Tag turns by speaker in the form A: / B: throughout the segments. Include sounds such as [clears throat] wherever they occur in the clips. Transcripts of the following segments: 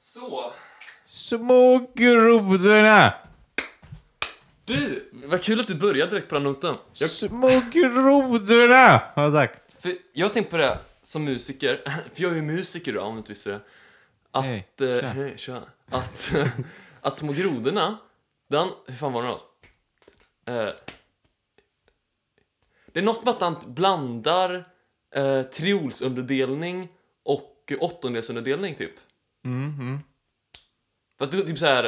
A: Så,
B: Små grodorna!
A: du! Vad kul att du började direkt på den noten. Jag,
B: Små grodorna! Har jag sagt.
A: för jag har tänkt på det här som musiker, [laughs] för jag är ju musiker då, om du inte visste det. Att,
B: Hej,
A: eh,
B: tja.
A: hej, tja. Att, [laughs] att Små grodorna, den, hur fan var det något? Eh, det är något med att han blandar eh, triolsunderdelning och åttondelsunderdelning typ.
B: Mm,
A: Mhm.
B: mm.
A: För att det är typ så här.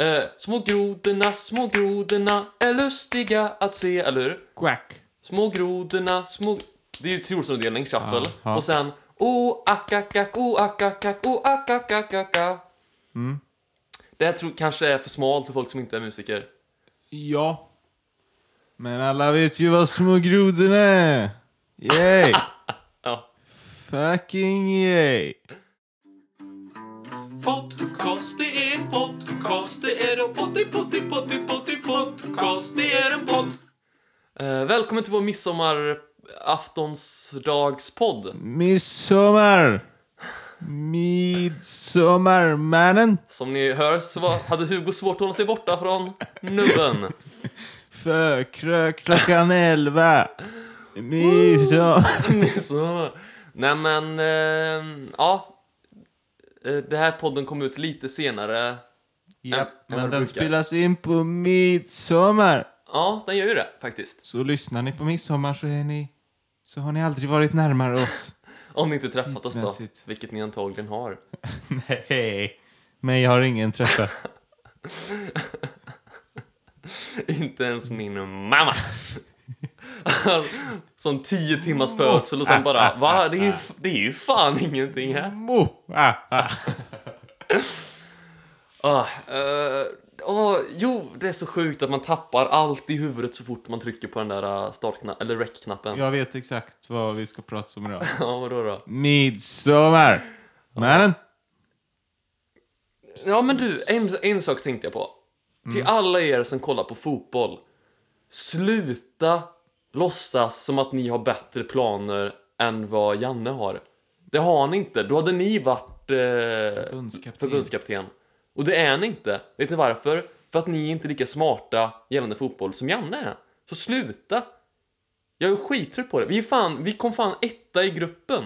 A: Eh, små grodorna, små grodorna är lustiga att se, eller hur?
B: Quack.
A: Små grodorna, små... Det är ju triolsavdelning, shuffle.
B: Ja, ja.
A: Och sen... O ack ack ack o ack ack ack o ack ack ack ack a.
B: Mm.
A: Det här tror kanske är för smalt för folk som inte är musiker.
B: Ja. Men alla vet ju vad små grodorna är. Yay!
A: [laughs] Ja.
B: Fucking yay!
A: Podcast, det är en podcast, det är en potti potti potti potti podcast, det är en podd. Eh, välkommen till vår midsommaraftonspodd.
B: Midsommar! Midsommarmannen!
A: Som ni hör så var, hade Hugo svårt att hålla sig borta från nubben.
B: För krö- klockan elva! Midsommar...
A: Mm. [laughs] så. Nej men, eh, ja. Eh, Det här podden kom ut lite senare. vad
B: Japp, men
A: brukar.
B: den spelas in på midsommar!
A: Ja, den gör ju det faktiskt.
B: Så lyssnar ni på midsommar så är ni... Så har ni aldrig varit närmare oss.
A: Om ni inte träffat oss då,
B: Tidsmässigt.
A: vilket ni antagligen har.
B: [laughs]
A: [laughs]
B: Nej, mig har ingen träffat.
A: inte ens min mamma. [laughs] Som tio timmars födsel och sen bara, va? Det är ju, det är ju fan ingenting här.
B: [laughs] Mo! Ah, ah.
A: Ah, eh, ah, jo, det är så sjukt att man tappar allt i huvudet så fort man trycker på den där eh, startknappen, eller [laughs] rec-knappen. Ja,
B: Jag vet exakt vad vi ska prata om idag.
A: vadå då?
B: Midsommar! Men,
A: Ja, men du, en, en sak tänkte jag på. Till alla er som kollar på fotboll. Sluta låtsas som att ni har bättre planer än vad Janne har. Det har ni inte. Då hade ni varit eh,
B: förbundskapten.
A: förbundskapten. Och det är ni inte. Vet ni varför? För att ni är inte lika smarta gällande fotboll som Janne är. Så sluta! Jag är skittrött på det. Vi, är fan, vi kom fan etta i gruppen.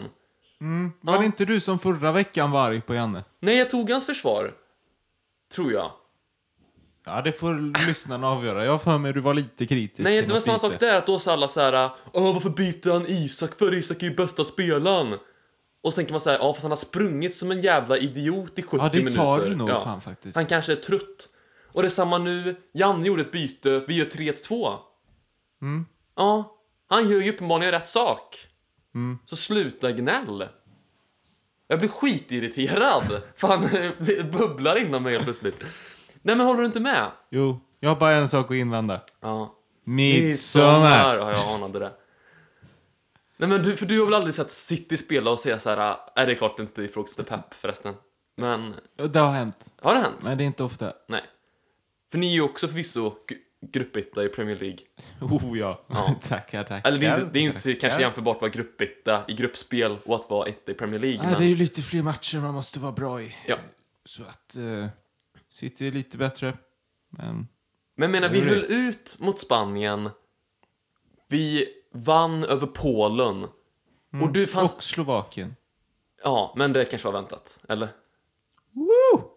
B: Mm. Var det inte du som förra veckan var arg på Janne?
A: Nej, jag tog hans försvar. Tror jag.
B: Ja, det får lyssnarna avgöra. Jag har för mig du var lite kritisk.
A: Nej, det
B: till
A: var
B: något
A: samma sak
B: byte.
A: där, att då sa alla så här, Åh, varför byter han Isak för? Isak är ju bästa spelaren. Och så tänker man så här, ja fast han har sprungit som en jävla idiot i 70
B: Ja, det
A: minuter.
B: sa du nog
A: Ja.
B: fan faktiskt.
A: Han kanske är trött. Och det är samma nu, Janne gjorde ett byte, vi gör 3-2.
B: Mm.
A: Ja, han gör ju uppenbarligen rätt sak.
B: Mm.
A: Så sluta gnäll. Jag blir skitirriterad, [laughs] för han bubblar inom mig helt plötsligt. Nej men håller du inte med?
B: Jo, jag har bara en sak att invända.
A: Ja.
B: Midsommar!
A: Ja, jag anade det. Nej men du, för du har väl aldrig sett City spela och säga så här, är det är klart inte i Frukost med Pep förresten. Men,
B: Ja, Det har hänt,
A: har det hänt?
B: men det är inte ofta.
A: Nej. För ni är ju också förvisso g- gruppetta i Premier League.
B: [laughs] Oh ja.
A: Ja.
B: tackar, tackar.
A: Eller det är, inte, det är ju inte
B: tackar.
A: kanske jämförbart att vara gruppetta i gruppspel och att vara etta i Premier League.
B: Nej,
A: men,
B: det är ju lite fler matcher man måste vara bra i.
A: Ja.
B: Så att eh, City är lite bättre. Men
A: men jag menar, vi
B: det är
A: höll ut mot Spanien. Vi vann över Polen. Och du fanns...
B: Mm. Och Slovakien.
A: Ja, men det kanske var väntat. Eller?
B: Woo!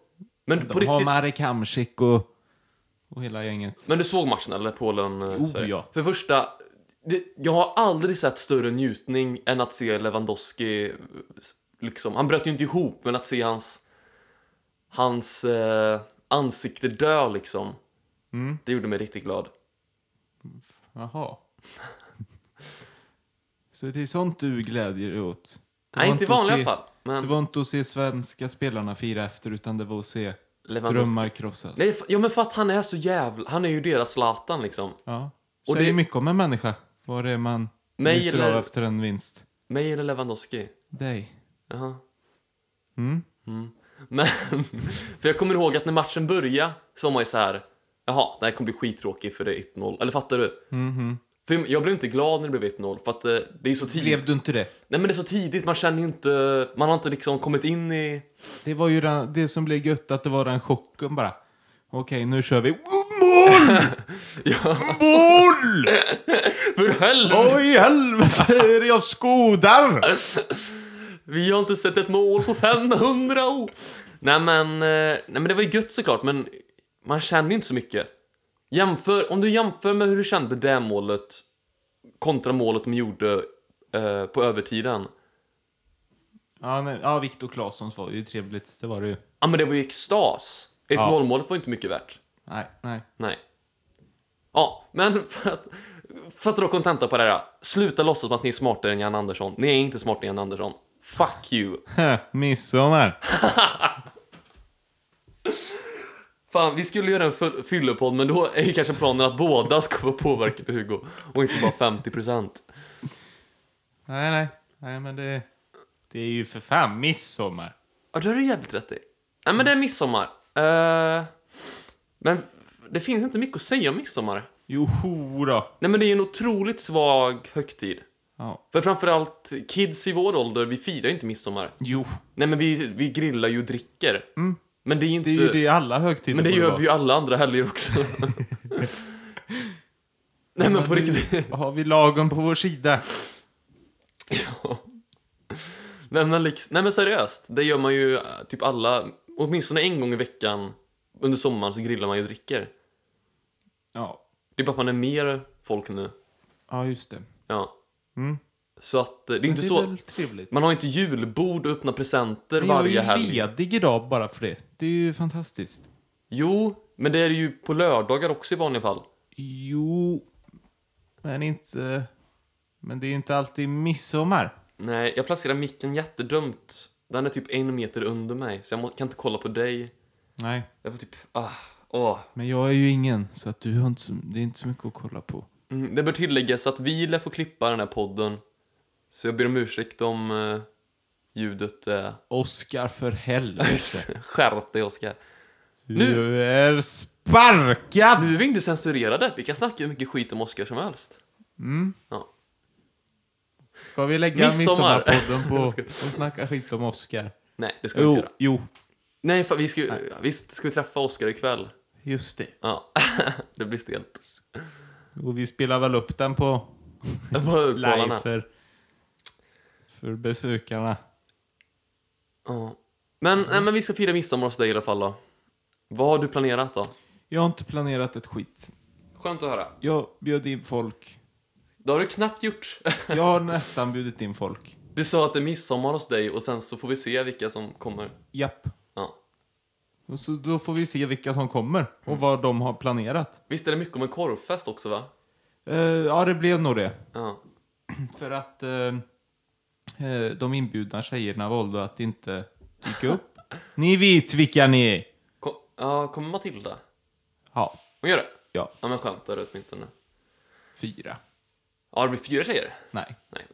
A: Men på
B: De har
A: riktigt...
B: Marek Hamsik och, och hela gänget.
A: Men du såg matchen eller? Polen? eh,
B: Oh,
A: Sverige?
B: ja.
A: För det första, det, jag har aldrig sett större njutning än att se Lewandowski eh, s- liksom, han bröt ju inte ihop, men att se hans hans eh, ansikte dö liksom.
B: Mm.
A: Det gjorde mig riktigt glad. [laughs]
B: Jaha. Så det är sånt du glädjer dig åt? Det
A: Nej,
B: var
A: inte i
B: att
A: vanliga
B: se,
A: fall, men
B: Det var inte att se svenska spelarna fira efter, utan det var att se
A: Lewandowski.
B: drömmar krossas.
A: Nej, f- ja men för att han är så jävla, han är ju deras Zlatan liksom.
B: Ja.
A: Och
B: Säger
A: det-
B: mycket om en människa. Vad det är man
A: Mig
B: njuter
A: eller-
B: av efter en vinst.
A: Mig eller Lewandowski?
B: Dig.
A: Jaha.
B: Mm.
A: Men, för jag kommer ihåg att när matchen började så var man ju så här. Jaha, det här kommer bli skittråkigt för det är 1-0. Eller fattar du?
B: Mhm.
A: För jag blev inte glad när det blev 1-0 för att eh, det är så tidigt.
B: Blev du inte det?
A: Nej men det är så tidigt, man känner ju inte, man har inte liksom kommit in i... [laughs]
B: Det var ju den, det som blev gött, att det var den chocken bara. Okej, nu kör vi. Mål!
A: Ja,
B: Mål!
A: för helvete!
B: Vad i helvete är det jag skodar?
A: Vi har inte sett ett mål på 500 år! Nej men, eh, nej men det var ju gött såklart men man känner inte så mycket. Jämför, om du jämför med hur du kände det målet kontra målet de gjorde eh, på övertiden.
B: Ja, nej, ja Viktor Claessons var ju trevligt. Det var det ju.
A: Ja men det var ju extas. Ett
B: Ja.
A: målmålet var inte mycket värt.
B: Nej, nej. [laughs]
A: Nej. Ja, men för att, för att dra kontenta på det här. Sluta låtsas som att ni är smartare än Jan Andersson. Ni är inte smartare än Jan Andersson. Fuck you.
B: Midsommar.
A: Fan, vi skulle göra en full- fyllepodd, men då är ju kanske planen att båda ska vara påverkade på Hugo och inte bara 50%.
B: Nej, nej. Nej, men det... Det är ju för fan midsommar.
A: Ja, det har du jävligt rätt i. Nej, men det är midsommar. Eh, men det finns inte mycket att säga om midsommar.
B: Joho då.
A: Nej, men det är en otroligt svag högtid.
B: Ja.
A: För framförallt kids i vår ålder, vi firar ju inte midsommar.
B: Jo.
A: Nej men vi, vi grillar ju och dricker. Men det är ju
B: Mm. Det
A: inte...
B: är ju det alla högtider
A: men det
B: borde
A: gör
B: vara.
A: vi ju alla andra helger också.
B: [laughs]
A: Nej men på
B: Men
A: riktigt.
B: nu Har vi lagen på vår sida?
A: Nej men, liksom, nej men seriöst, det gör man ju eh, typ alla, åtminstone en gång i veckan under sommaren så grillar man ju och dricker.
B: Ja.
A: Det är bara att man är mer folk nu.
B: Ja, just det.
A: Ja.
B: Mm.
A: Så att eh, det är inte
B: det är
A: så,
B: väl trevligt.
A: man har ju inte julbord och öppna presenter
B: Men
A: varje
B: jag är
A: helg.
B: ju ledig idag bara för det. Det är ju fantastiskt.
A: Jo, men det är ju på lördagar också i vanliga fall.
B: Jo, men inte... Men det är inte alltid midsommar.
A: Nej, jag placerar micken jättedömt. Den är typ en meter under mig, så jag må- kan inte kolla på dig.
B: Nej,
A: Jag får typ... Ah, åh.
B: men jag är ju ingen, så att du har inte så, det är inte så mycket att kolla på.
A: Mm, det bör tilläggas att vi lär få klippa den här podden. Så jag ber om ursäkt om eh, ljudet är...
B: Oscar för
A: [laughs]
B: helvete.
A: Skärp dig, Oskar.
B: Du är sparkad!
A: Nu är vi inte censurerade. Vi kan snacka hur mycket skit om Oskar som helst.
B: Mm.
A: Ja.
B: Ska vi lägga
A: Midsommar. [laughs]
B: midsommarpodden på och snacka skit om Oscar?
A: Nej, det ska vi
B: Jo,
A: inte göra.
B: jo,
A: Nej, fan, vi ska, ju- visst ska vi träffa Oskar ikväll?
B: just det.
A: Ja, [laughs] det blir stelt.
B: Och vi spelar väl upp den på
A: Jag bara
B: live
A: högtalarna.
B: för, för besökarna.
A: Ja. Men, nej, men vi ska fira midsommar hos dig i alla fall då. Vad har du planerat då?
B: Jag har inte planerat ett skit.
A: Skönt att höra.
B: Jag bjöd in folk.
A: Det har du knappt gjort. [laughs]
B: Jag har nästan bjudit in folk.
A: Du sa att det är midsommar hos dig och sen så får vi se vilka som kommer.
B: Japp.
A: Ja.
B: Och så då får vi se vilka som kommer och vad de har planerat.
A: Visst är det mycket om en korvfest också va?
B: Eh, ja, det blev nog det.
A: Ja.
B: För att eh, eh, de inbjudna tjejerna valde att inte dyka upp. ni vet vilka ni är!
A: Kom, ja, kommer Matilda?
B: Ja,
A: Hon gör det?
B: ja,
A: Ja men skämtar du åtminstone?
B: fyra.
A: Ja det blir fyra tjejer.
B: Nej.
A: Nej.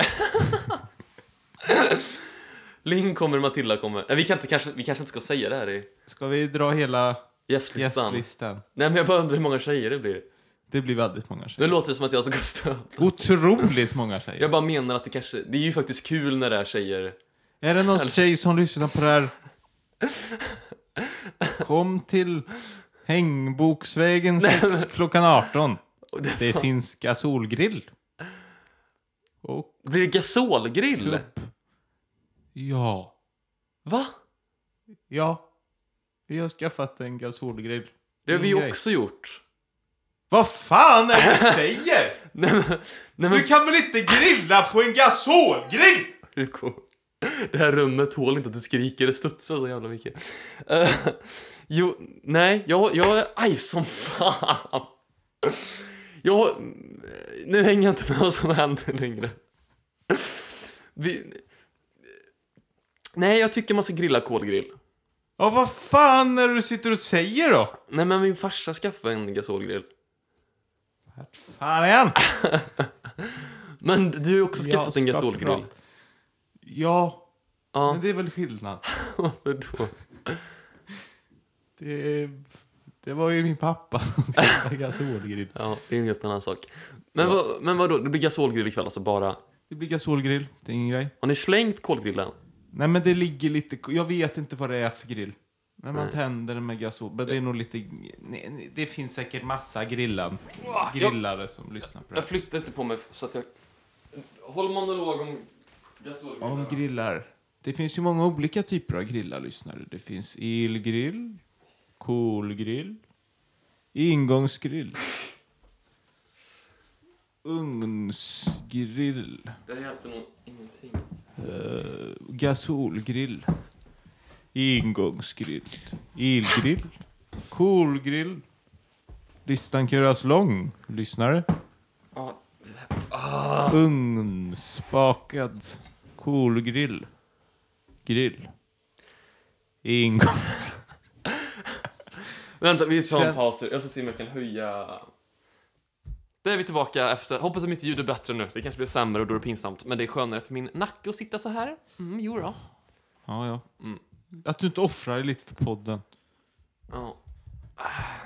A: Linn kommer, Matilda kommer. Nej, vi, kan inte, kanske, vi kanske inte ska säga det här i
B: Ska vi dra hela
A: gästlistan.
B: gästlistan?
A: Nej men jag bara undrar hur många tjejer det blir.
B: Det blir väldigt många tjejer.
A: Nu låter det som att jag ska stöd.
B: Otroligt många tjejer.
A: Jag bara menar att det kanske, det är ju faktiskt kul när det är tjejer.
B: Är det någon tjej som lyssnar på
A: [laughs]
B: det här? Kom till Hängboksvägen 6 klockan 18.
A: Och det-
B: Det finns gasolgrill. Och
A: Blir det gasolgrill?
B: klubb. Ja.
A: Va?
B: Ja. Vi har skaffat en gasolgrill.
A: Det har vi
B: Ingen grej.
A: också gjort.
B: Vad fan är det du
A: [laughs]
B: säger?
A: Nej men, nej men
B: Du kan väl inte grilla på en gasolgrill?
A: Hugo. Det här rummet tål inte att du skriker och studsar så jävla mycket. Eh, jo, nej, jag, jag är arg som fan. Jag, nu hänger jag inte med vad som händer längre. Vi, nej, jag tycker man ska grilla kolgrill.
B: Ja, vad fan är det du sitter och säger då?
A: Nej, men min farsa skaffade en gasolgrill.
B: Vart fan är han?
A: Men du har också
B: Jag
A: skaffat en
B: ska
A: gasolgrill. [laughs]
B: prata. Ja,
A: Ja,
B: men det är väl skillnad.
A: varför då?
B: Det är... Det var ju min pappa. [laughs] gasolgrill.
A: Ja, det är en helt annan sak. Men, vad, men vadå, det blir gasolgrill ikväll alltså bara?
B: Det blir gasolgrill. Det är ingen grej.
A: Har ni slängt kolgrillen?
B: Nej, men det ligger lite... Jag vet inte vad det är för grill. Men man
A: Nej.
B: tänder den med gasol. Men det är nog lite... nej, nej, Det finns säkert massa grillan, grillare som lyssnar på det
A: Jag
B: här.
A: flyttar inte på mig så att jag... Håll monolog om gasolgrillen.
B: Om grillar. Det finns ju många olika typer av grillar, lyssnare. Det finns elgrill, kolgrill, ingångsgrill, ugnsgrill,
A: Det här hjälpte nog ingenting.
B: eh, gasolgrill, ingångsgrill, elgrill, kolgrill. Listan kan göras lång, lyssnare.
A: Ja,
B: Ugnsbakad kolgrill. Grill. Ingång.
A: Vänta, vi tar en
B: Känn-
A: paus här. Jag ska se om jag kan höja... Där är vi tillbaka efter. Hoppas att mitt ljud är bättre nu. Det kanske blir sämre och då är det pinsamt. Men det är skönare för min nacke att sitta så här. Mm, jo då.
B: Ja, ja.
A: Mm.
B: Att du inte offrar dig lite för podden.
A: Ja.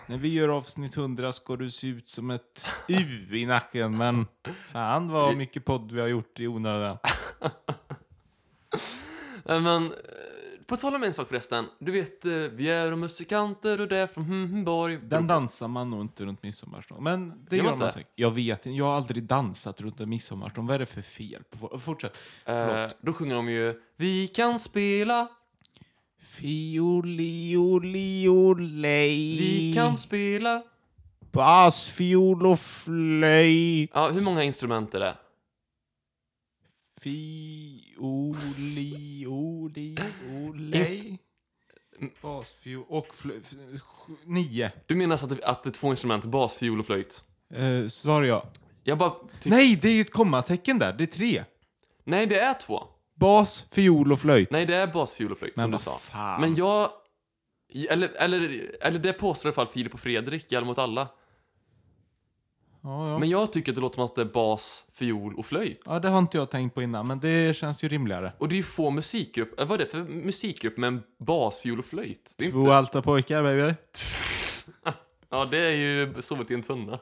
B: När vi gör avsnitt 100 ska du se ut som ett U i nacken, men fan vad mycket podd vi har gjort i onödan.
A: Eh, Men, eh, på tal om en sak förresten. Du vet, eh, vi är och musikanter och det är från Helsingborg.
B: Den dansar man nog inte runt midsommarstång. Men det
A: Gör
B: gör
A: man
B: man
A: inte?
B: säkert. Jag vet inte. Jag har aldrig dansat runt en midsommarstång. Vad är det för fel? på- Fortsätt.
A: Eh, då sjunger de ju Vi kan spela,
B: Fiolioliolej.
A: vi kan spela.
B: Bas, fiol och flöjt.
A: Ja, hur många instrument är det?
B: Fioliolej. Bas, fiol och flöjt. Nio.
A: Du menar så att, det- att det är två instrument, bas, fiol och flöjt?
B: Eh, Svarar jag.
A: Jag bara... Ty- nej.
B: Nej, det är ju ett kommatecken där. Det är tre.
A: det är två.
B: Bas, fiol och flöjt.
A: Nej, det är bas, fiol och flöjt
B: Men
A: som du
B: vad
A: sa.
B: fan.
A: Men jag... Eller, eller, eller det påstår i alla fall Filip och Fredrik i Alla mot alla.
B: Ja, ja.
A: Men jag tycker att det låter som att det är bas, fiol och flöjt.
B: ja, det har inte jag tänkt på innan, men det känns ju rimligare.
A: Och det är ju få musikgrupper. Vad är det för musikgrupp med en bas, fiol och flöjt? Det är
B: Två alta pojkar, baby.
A: [laughs] Ja, det är ju sovit i en tunna.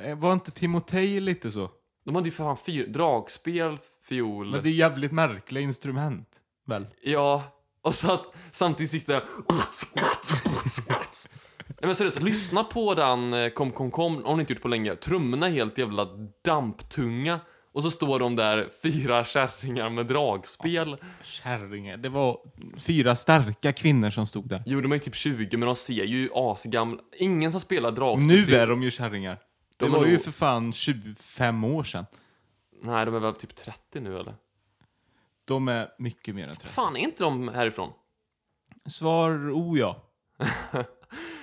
B: Eh, Var inte Timotej lite så?
A: De hade ju för fan fyra, dragspel, fiol.
B: Men det är jävligt märkliga instrument. Väl?
A: Ja, och så att samtidigt sitter jag... Nej men seriöst, lyssna på den eh, Kom Kom Kom, har ni inte gjort på länge. Trummorna är helt jävla damptunga. Och så står de där, fyra kärringar med dragspel.
B: Kärringar. Det var fyra starka kvinnor som stod där.
A: Jo, de är ju typ 20, men de ser ju asgamla... Ingen som spelar
B: Och
A: dragspel...
B: nu
A: ser-
B: är de ju kärringar. Det
A: De är
B: var ju
A: nog-
B: för fan 25 år sedan.
A: Nej, de är väl typ 30 nu, eller?
B: De är mycket mer än 30.
A: Fan, är inte de härifrån?
B: Svar O ja.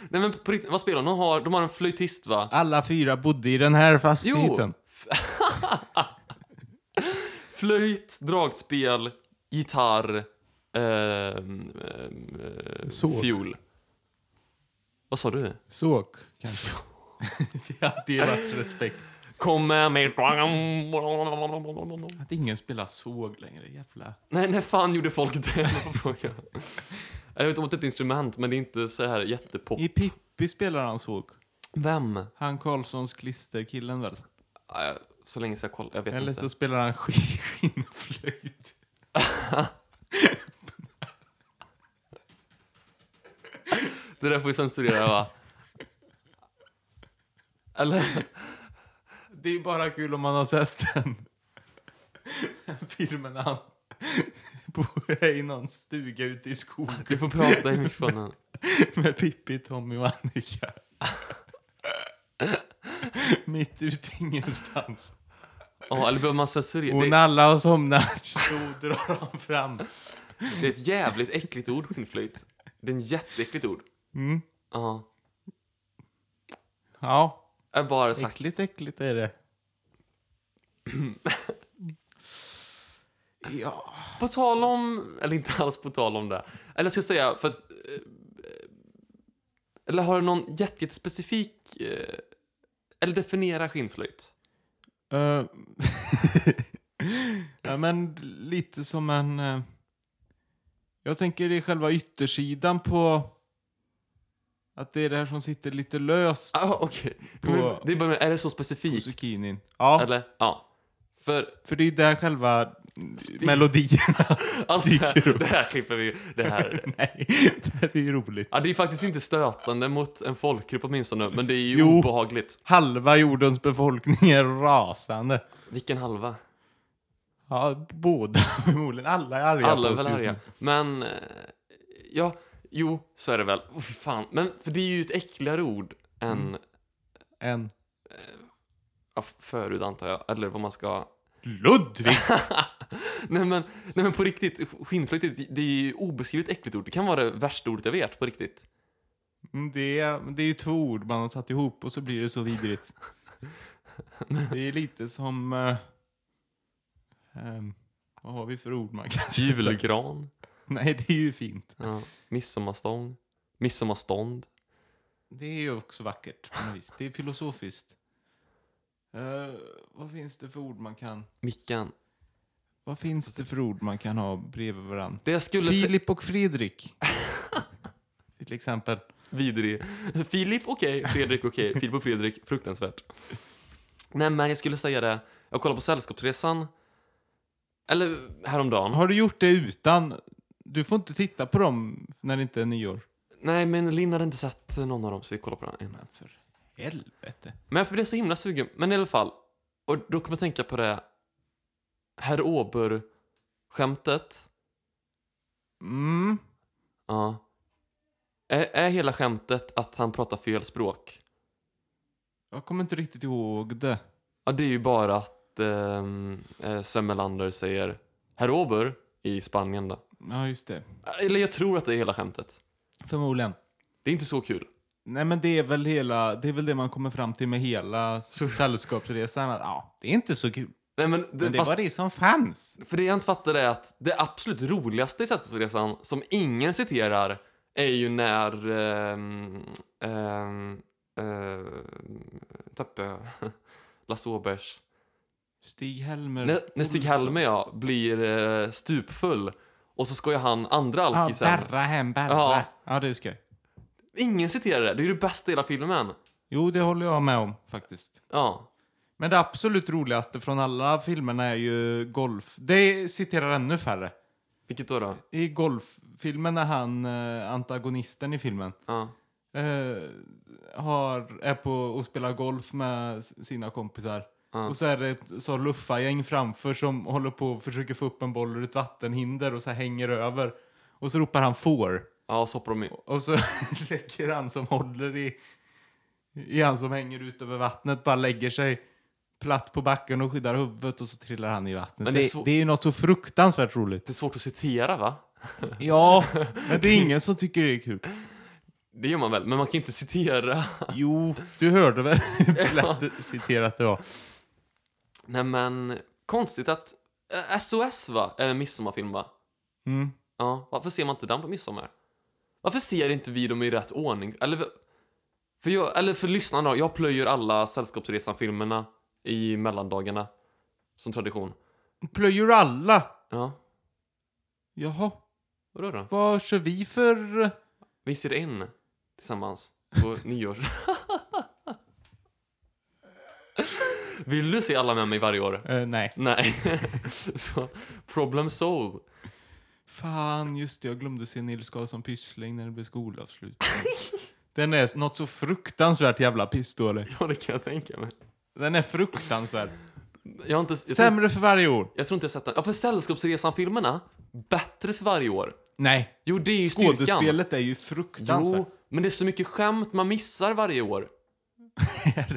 A: Nej men på riktigt, vad spelar de? De har, de har en flöjtist, va?
B: Alla fyra bodde i den här
A: Jo!
B: fastigheten.
A: Flöjt, dragspel, gitarr, ehm, ehm, eh,
B: Såg.
A: fiol. Vad sa du?
B: Såk, [laughs] kanske. Det hade ju varit respekt.
A: Kom med mig.
B: Att ingen spelar såg längre, jävla...
A: Nej, när fan gjorde folk det? var frågan. Jag vet om det är ett instrument, men det är inte så här jättepop.
B: I Pippi spelar han såg.
A: Vem?
B: Han Karlssons klisterkillen väl?
A: Nej, Så länge sedan jag kollade, jag vet
B: Eller
A: inte.
B: så spelar han [laughs] sk- skinnflöjt.
A: Det där får vi censurera, va? Eller? [laughs]
B: Det är bara kul om man har sett den. [laughs] den filmen när han bor i någon stuga ute i skogen
A: Du får prata i mikrofonen.
B: med Pippi, Tommy och Annika. [laughs] Mitt ute i ingenstans.
A: Ja, eller behöver man censurera?
B: Och
A: Det-
B: när alla har somnat så drar han fram.
A: Det är ett jävligt äckligt ord, skinnflöjt. Det är ett jätteäckligt ord.
B: Mm.
A: Ja.
B: Ja,
A: Jag har bara sagt.
B: äckligt äckligt
A: [clears throat]
B: är det. ja.
A: På tal om... Eller inte alls på tal om det. Eller jag ska säga, för att... eh, eh, Eller har du någon jätte- jättespecifik... eh, Eller definiera skinnflöjt. [laughs]
B: Eh, ja, men lite som en... eh, jag tänker det är själva yttersidan på Att det är det här som sitter lite löst
A: Ah, okej.
B: På-
A: Men Det är, bara, är det så
B: på
A: specifikt?
B: zucchinin. Ja,
A: Eller? Ja. För
B: för det är där själva melodierna
A: alltså, det,
B: dyker
A: här, [laughs]
B: upp.
A: det här klipper vi ju. Det här.
B: [laughs] Nej, det är ju roligt.
A: Ja, det är faktiskt inte stötande mot en folkgrupp åtminstone, men det är ju
B: Jo.
A: obehagligt.
B: Halva jordens befolkning är rasande.
A: Vilken halva?
B: Ja, båda [laughs] förmodligen. Alla är arga
A: Alla
B: på
A: är
B: oss
A: väl
B: just
A: arga.
B: nu.
A: Men, eh, ja, jo, så är det väl. Oh, fy fan. Men, för det är ju ett äckligare ord än
B: En
A: ja, f- förut, antar jag. Eller vad man ska...
B: Ludvig!
A: nej, men, nej, men på riktigt, skinnflöjtigt, det- det är ju obeskrivligt äckligt ord. Det kan vara det värsta ordet jag vet, på riktigt.
B: Mm, Det är, det är ju två ord man har satt ihop och så blir det så vidrigt. Det är lite som... eh, ehm, vad har vi för ord man kan sätta?
A: Julgran.
B: Nej, det är ju fint.
A: [laughs] Ja. Midsommarstång. Midsommarstånd.
B: Det är ju också vackert på något vis. Det är filosofiskt. Eh, vad finns det för ord man kan...
A: Mickan.
B: Vad finns det för ord man kan ha bredvid varandra?
A: Det jag skulle säga...
B: Filip och Fredrik. Till exempel.
A: Vidrig. Filip okej, Fredrik okej, Filip och Fredrik fruktansvärt. Nej men jag skulle säga det, jag kollade på Sällskapsresan, eller häromdagen.
B: Har du gjort det utan... Du får inte titta på dem när det inte är nyår.
A: Nej men Linn hade inte sett någon av dem så vi kollade på den. ena.
B: Men för helvete.
A: Men för det är så himla sugen, men i alla fall. Och då kommer jag tänka på det Herr Åber-skämtet.
B: Mm.
A: Ja. Är, är hela skämtet att han pratar fel språk?
B: Jag kommer inte riktigt ihåg det.
A: Ja, det är ju bara att ehm, eh, Sven Melander säger Herr Åber i Spanien då.
B: Ja, just det.
A: Eller jag tror att det är hela skämtet.
B: Förmodligen.
A: Det är inte så kul.
B: Nej, men det är väl hela... Det är väl det man kommer fram till med hela sällskapsresan. Att, ja, det är inte så kul.
A: Nej, men det,
B: Men det
A: fast,
B: var det som fanns.
A: För det jag inte fattar är att det absolut roligaste i Sällskapsresan, som ingen citerar, är ju när... ehm, ehm, ehm, tappar jag... [laughs] Lasse Åbergs...
B: Stig-Helmer.
A: När, när Stig Helmer, ja, blir eh, stupfull och så ska ju han andra
B: Ja,
A: alkisen.
B: Berra hem, Berra.
A: Ja.
B: Ja, det ska jag.
A: ingen citerar det. Det är ju det bästa i hela filmen.
B: Jo, det håller jag med om faktiskt.
A: Ja.
B: Men det absolut roligaste från alla filmerna är ju golf. Det citerar ännu färre.
A: Vilket då? då?
B: I golffilmen är han eh, antagonisten i filmen.
A: Ja.
B: eh, har, är på och spelar golf med s- sina kompisar.
A: Ja.
B: Och så är det ett så luffargäng framför som håller på och försöker få upp en boll ur ett vattenhinder och så här hänger över. Och så ropar han får.
A: Ja, och så hoppar de in.
B: Och så [laughs] lägger han som håller i, i han som hänger ut över vattnet, bara lägger sig platt på backen och skyddar huvudet och så trillar han i vattnet.
A: Men det
B: det,
A: är
B: det,
A: så-
B: är ju något så fruktansvärt roligt.
A: Det är svårt att citera, va?
B: Ja, men det är ingen som tycker det är kul.
A: Det gör man väl, men man kan ju inte citera.
B: Jo, du hörde väl hur lätt citerat det var?
A: Nej men, konstigt att eh, SOS va? Är en midsommarfilm va?
B: Mm.
A: Ja, varför ser man inte den på midsommar? Varför ser inte vi dem i rätt ordning? Eller för, jag, eller för lyssnarna då, jag plöjer alla Sällskapsresan-filmerna i mellandagarna. Som tradition.
B: Plöjer alla?
A: Ja,
B: Jaha,
A: vadå då?
B: vad kör vi för...
A: Vi ser in tillsammans på nyår. Vill du se alla med mig varje år?
B: Eh, nej.
A: Nej. [laughs] Så, problem solved.
B: Fan, just det, jag glömde se Nils Karlsson Pyssling när det blev skolavslutning. [laughs] Den är något så fruktansvärt jävla pissdålig.
A: Ja, det kan jag tänka mig.
B: Den är fruktansvärd.
A: Jag har inte... Jag, tror,
B: Sämre för varje år.
A: jag tror inte jag sett den. Ja, för Sällskapsresan-filmerna, bättre för varje år.
B: Nej.
A: Jo, det är ju styrkan.
B: Skådespelet är ju fruktansvärt.
A: Jo, men det är så mycket skämt man missar varje
B: [laughs]
A: år.